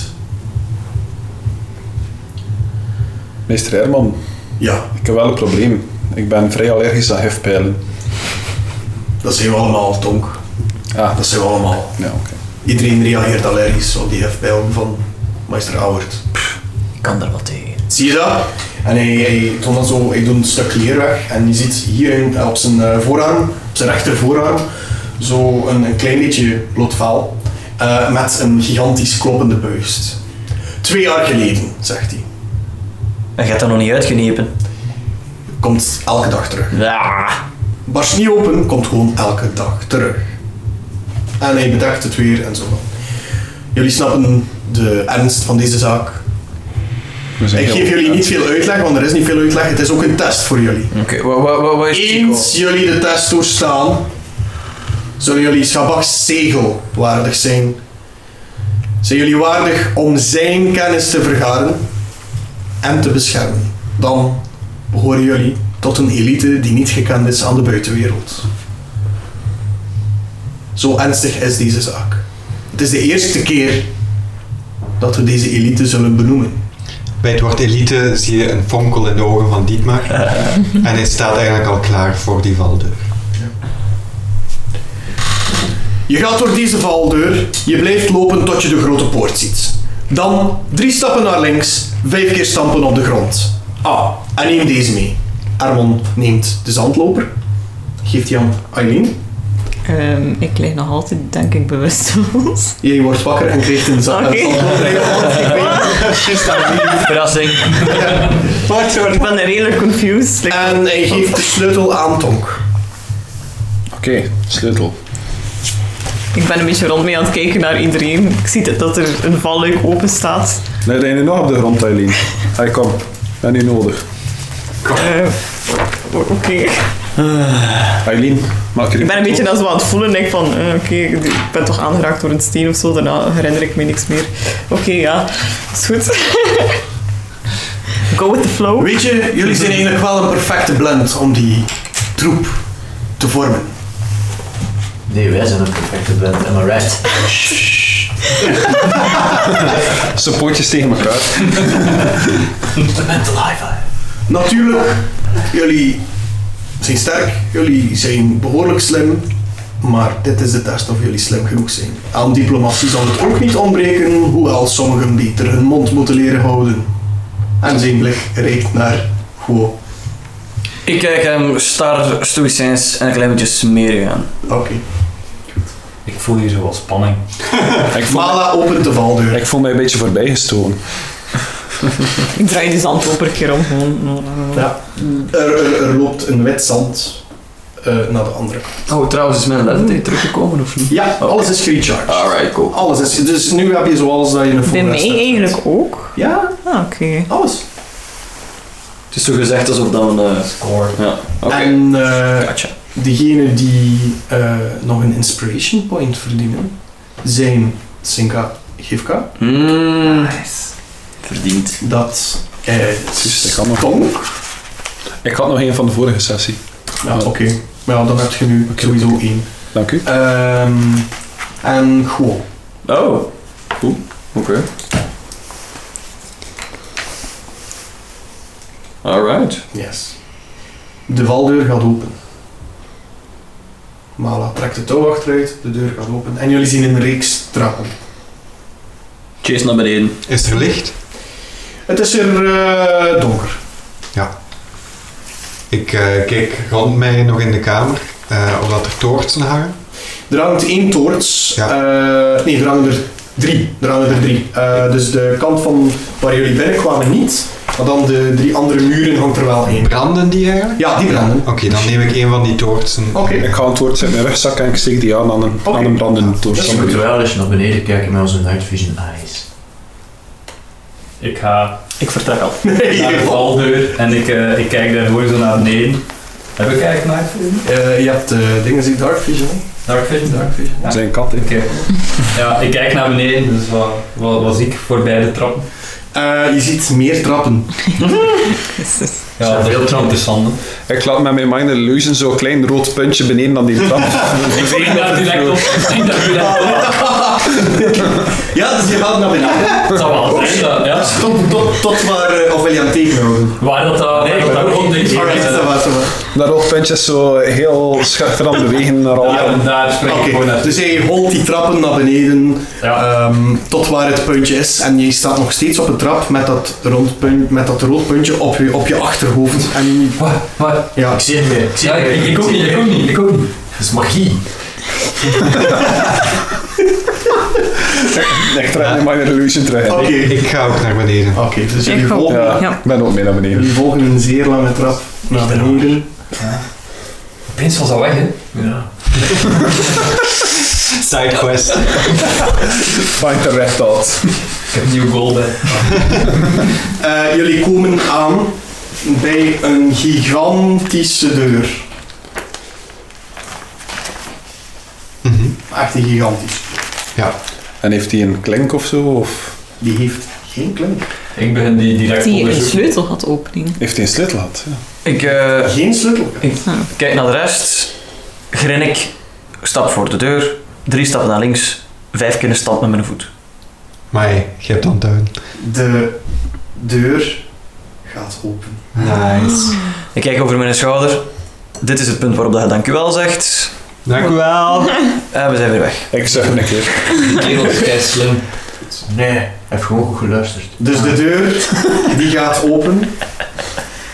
[SPEAKER 4] Meester Herman,
[SPEAKER 1] Ja,
[SPEAKER 4] ik heb wel een probleem. Ik ben vrij allergisch aan hefpijlen.
[SPEAKER 1] dat zijn we allemaal, Tonk.
[SPEAKER 4] Ah,
[SPEAKER 1] Dat zijn we allemaal.
[SPEAKER 4] ja, oké.
[SPEAKER 1] Iedereen reageert allergisch op die hefpijl van meester Auwert.
[SPEAKER 7] Ik kan daar wat tegen.
[SPEAKER 1] Zie je dat? En hij, hij doet dan zo, hij doet een stuk leer weg en je ziet hier in- op zijn eh, voorarm, op zijn rechter voorarm, zo een, een klein beetje bloedvaal eh, met een gigantisch kloppende buist. Twee jaar geleden, zegt hij.
[SPEAKER 7] En je hebt dat nog niet uitgenepen.
[SPEAKER 1] Komt elke dag terug.
[SPEAKER 7] Ja.
[SPEAKER 1] Barst niet open, komt gewoon elke dag terug. En hij bedekt het weer en zo. Jullie snappen de ernst van deze zaak.
[SPEAKER 4] We zijn
[SPEAKER 1] Ik
[SPEAKER 4] heel-
[SPEAKER 1] geef jullie niet veel uitleg, want er is niet veel uitleg. Het is ook een test voor jullie.
[SPEAKER 7] Oké, wat, wat, wat, wat is Chico?
[SPEAKER 1] Eens jullie de test doorstaan, Zullen jullie Schabaks zegel waardig zijn? Zijn jullie waardig om zijn kennis te vergaren en te beschermen? Dan behoren jullie tot een elite die niet gekend is aan de buitenwereld. Zo ernstig is deze zaak. Het is de eerste keer dat we deze elite zullen benoemen.
[SPEAKER 5] Bij het woord elite zie je een fonkel in de ogen van Dietmar. en hij staat eigenlijk al klaar voor die valdeur.
[SPEAKER 1] Je gaat door deze valdeur, je blijft lopen tot je de grote poort ziet. Dan drie stappen naar links, vijf keer stampen op de grond. Ah, en neem deze mee. Armon neemt de zandloper, geeft die aan Aileen.
[SPEAKER 3] Ehm, ik lig nog altijd, denk ik, bewusteloos.
[SPEAKER 1] Jij wordt wakker en krijgt een za- een
[SPEAKER 3] Oké.
[SPEAKER 1] zandloper. in je hand. Ik weet het. Is dat niet?
[SPEAKER 7] Verrassing.
[SPEAKER 1] Wat voor-
[SPEAKER 3] Ik ben redelijk confused. Like,
[SPEAKER 1] En hij geeft de sleutel aan Tonk.
[SPEAKER 4] Oké, sleutel.
[SPEAKER 3] ik ben een beetje rond mee aan het kijken naar iedereen. Ik zie dat- dat er een valluik open staat.
[SPEAKER 4] Nee, de ene nog op de grond, Eileen. Hij kom. En nu nodig.
[SPEAKER 3] Eh, o- oké.
[SPEAKER 4] Eileen, maak je
[SPEAKER 3] Ik ben een beetje dan zo aan het voelen. Ik van, eh, oké, ik ben toch aangeraakt door een steen of zo. Daarna herinner ik me niks meer. Oké, ja. Is goed. Go with the flow.
[SPEAKER 1] Weet je, jullie zijn eigenlijk wel een perfecte blend om die troep te vormen.
[SPEAKER 7] Nee, wij zijn een perfecte band, am I right?
[SPEAKER 4] Zijn pootjes tegen elkaar.
[SPEAKER 1] Natuurlijk, jullie zijn sterk, jullie zijn behoorlijk slim, maar dit is de test of jullie slim genoeg zijn. Aan diplomatie zal het ook niet ontbreken, hoewel sommigen beter hun mond moeten leren houden. En zijn blik reikt naar Guo.
[SPEAKER 7] Ik kijk hem star, stoïcijns en een klein beetje smerig aan.
[SPEAKER 1] Oké.
[SPEAKER 6] Ik voel hier zo wat spanning.
[SPEAKER 4] Ik vond,
[SPEAKER 1] Mala opent de valdeur.
[SPEAKER 4] ik vond mij een beetje voorbijgestoken.
[SPEAKER 3] Ik draai die zandloper een keer om. Gewoon.
[SPEAKER 1] Ja. Er, er, er loopt een wit zand eh, naar de andere kant.
[SPEAKER 7] Oh, trouwens, is mijn lettertijd teruggekomen of niet?
[SPEAKER 1] Ja, alles is grecharged.
[SPEAKER 7] Alright, cool.
[SPEAKER 1] Alles is, dus nu heb je zoals dat je een
[SPEAKER 3] Bij
[SPEAKER 1] full rest
[SPEAKER 3] mij
[SPEAKER 1] hebt.
[SPEAKER 3] eigenlijk ook.
[SPEAKER 1] Ja,
[SPEAKER 3] Ah, oké.
[SPEAKER 1] alles.
[SPEAKER 7] Het is zo gezegd alsof dan een... Score. Ja, oké.
[SPEAKER 1] En eh,
[SPEAKER 7] Gotcha.
[SPEAKER 1] Degenen die eh, nog een inspiration point verdienen, zijn Sinka Gifka.
[SPEAKER 3] Ehm,
[SPEAKER 7] Mm, verdiend.
[SPEAKER 1] Dat eh,
[SPEAKER 4] Dus
[SPEAKER 1] is
[SPEAKER 4] dat kan nog.
[SPEAKER 1] Tonk.
[SPEAKER 4] Ik had nog een van de vorige sessie.
[SPEAKER 1] Ja, oké. Maar ja, dan heb je nu
[SPEAKER 4] Oké.
[SPEAKER 1] sowieso één.
[SPEAKER 4] Dank u.
[SPEAKER 1] Ehm, en Guo.
[SPEAKER 7] Oh, cool. Oké. Alright.
[SPEAKER 1] Yes. De valdeur gaat open. Mala trekt de touw achteruit, de deur gaat open en jullie zien een reeks trappen.
[SPEAKER 7] Chase naar beneden.
[SPEAKER 5] Is er licht?
[SPEAKER 1] Het is er eh, donker.
[SPEAKER 5] Ik eh, kijk rond mij nog in de kamer, eh of dat er toortsen hangen.
[SPEAKER 1] Er hangt één toorts. eh, nee, er hangen er drie. Er hangen er drie. Eh, dus de kant van waar jullie binnenkwamen niet, maar dan de drie andere muren hangt er wel één.
[SPEAKER 5] Branden die eigenlijk?
[SPEAKER 1] Ja, die branden.
[SPEAKER 5] Oké, dan neem ik een van die toortsen.
[SPEAKER 1] Oké.
[SPEAKER 4] Ik ga het woord in mijn rugzak en ik steek die aan aan een,
[SPEAKER 1] Oké.
[SPEAKER 4] aan een brandende
[SPEAKER 1] Dat
[SPEAKER 4] toorts.
[SPEAKER 1] is goed.
[SPEAKER 7] wel eens naar beneden kijken met onze night vision eyes.
[SPEAKER 6] Ik ga
[SPEAKER 7] Ik vertrek al.
[SPEAKER 1] Nee.
[SPEAKER 6] naar de valdeur en ik, eh, ik kijk daar gewoon zo naar beneden. Heb ik eigenlijk night vision?
[SPEAKER 1] Eh, je hebt eh, dingen die dark vision. hè?
[SPEAKER 6] Dark vision?
[SPEAKER 1] Dark vision.
[SPEAKER 6] Ja.
[SPEAKER 4] Zijn kat, hè.
[SPEAKER 6] Oké. Ja, ik kijk naar beneden, dus wat, wat, wat zie ik voorbij de trappen?
[SPEAKER 1] Eh, je ziet meer trappen.
[SPEAKER 6] Ja, dat is heel interessant.
[SPEAKER 4] Ik laat met mijn minor illusion zo'n klein rood puntje beneden aan die trap.
[SPEAKER 6] Ik zie daar direct op. Ik zie daar direct op.
[SPEAKER 1] Ja, dus je gaat naar beneden.
[SPEAKER 6] Het zou wel zijn, dat- ja.
[SPEAKER 1] Tot, tot, tot waar, eh, of wil je aan het tekenen houden?
[SPEAKER 6] Waar dat dat... Nee, dat dat komt niet.
[SPEAKER 1] Alright, dat was het.
[SPEAKER 4] Dat rood puntje is zo heel schuchter aan het bewegen naar alle
[SPEAKER 6] Ja, daar spring ik
[SPEAKER 1] Oké,
[SPEAKER 6] gewoon naar.
[SPEAKER 1] dus jij holt die trappen naar beneden
[SPEAKER 6] Ja.
[SPEAKER 1] ehm, tot waar het puntje is. En je staat nog steeds op een trap met dat, rond punt, met dat rood puntje op je, op je achterhoofd. En
[SPEAKER 6] Waar? Waar?
[SPEAKER 1] ja,
[SPEAKER 7] Ik zie het mee. Ik zie
[SPEAKER 6] Ja,
[SPEAKER 7] het mee.
[SPEAKER 6] ik, ik ook
[SPEAKER 7] zie
[SPEAKER 6] niet,
[SPEAKER 7] het
[SPEAKER 6] ik
[SPEAKER 7] mee.
[SPEAKER 6] ook niet, ik ook niet.
[SPEAKER 7] Het is magie.
[SPEAKER 4] Ik trek mijn minor illusion terug in.
[SPEAKER 1] oké.
[SPEAKER 5] Ik ga ook naar beneden.
[SPEAKER 1] Oké, dus jullie
[SPEAKER 3] Ik ook.
[SPEAKER 1] volgen,
[SPEAKER 4] Ja,
[SPEAKER 3] Ja.
[SPEAKER 4] ik ben ook mee naar beneden.
[SPEAKER 1] jullie volgen een zeer lange trap naar beneden.
[SPEAKER 6] Opeens was dat weg, hè?
[SPEAKER 7] Ja.
[SPEAKER 5] Sidequest.
[SPEAKER 4] Find the red dot.
[SPEAKER 6] Ik heb een nieuw goal bij.
[SPEAKER 1] Eh, jullie komen aan bij een gigantische deur.
[SPEAKER 7] Mhm.
[SPEAKER 1] Echt een gigantisch.
[SPEAKER 4] En heeft hij een klink of zo? Of
[SPEAKER 1] Die heeft geen klink.
[SPEAKER 6] Ik begin die direct
[SPEAKER 8] Die een
[SPEAKER 6] onderzoeken.
[SPEAKER 8] sleutel had opening.
[SPEAKER 4] heeft hij een sleutel gehad? Ja.
[SPEAKER 7] Ik eh,
[SPEAKER 1] Geen sleutel.
[SPEAKER 7] kijk naar de rest. Grin ik. Stap voor de deur. Drie stappen naar links. Vijf kunnen stap met mijn voet.
[SPEAKER 5] Maar hey, je hebt onthouden.
[SPEAKER 1] De deur gaat open.
[SPEAKER 5] Nice.
[SPEAKER 7] Ik kijk over mijn schouder. Dit is het punt waarop dat je dankjewel zegt.
[SPEAKER 5] Dank u wel.
[SPEAKER 7] En we zijn weer weg.
[SPEAKER 4] Ik zeg een keer.
[SPEAKER 6] Die kerel is kei slim.
[SPEAKER 2] Nee, hij heeft gewoon goed geluisterd.
[SPEAKER 1] Dus de deur die gaat open.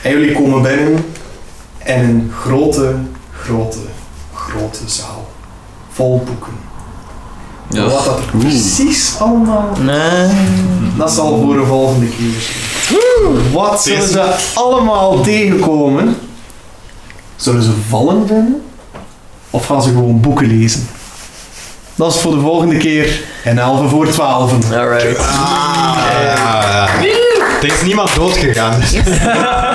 [SPEAKER 1] En jullie komen binnen in een grote, grote, grote zaal. Vol boeken.
[SPEAKER 6] Ja.
[SPEAKER 1] Wat dat er precies allemaal.
[SPEAKER 7] Nee.
[SPEAKER 1] Dat zal voor de volgende keer zijn. Wat zullen ze allemaal tegenkomen? Zullen ze vallen vinden? Of gaan ze gewoon boeken lezen? Dat is voor de volgende keer. En 11 voor 12.
[SPEAKER 7] Alright.
[SPEAKER 5] Ah, ja, ja. Er is niemand doodgegaan.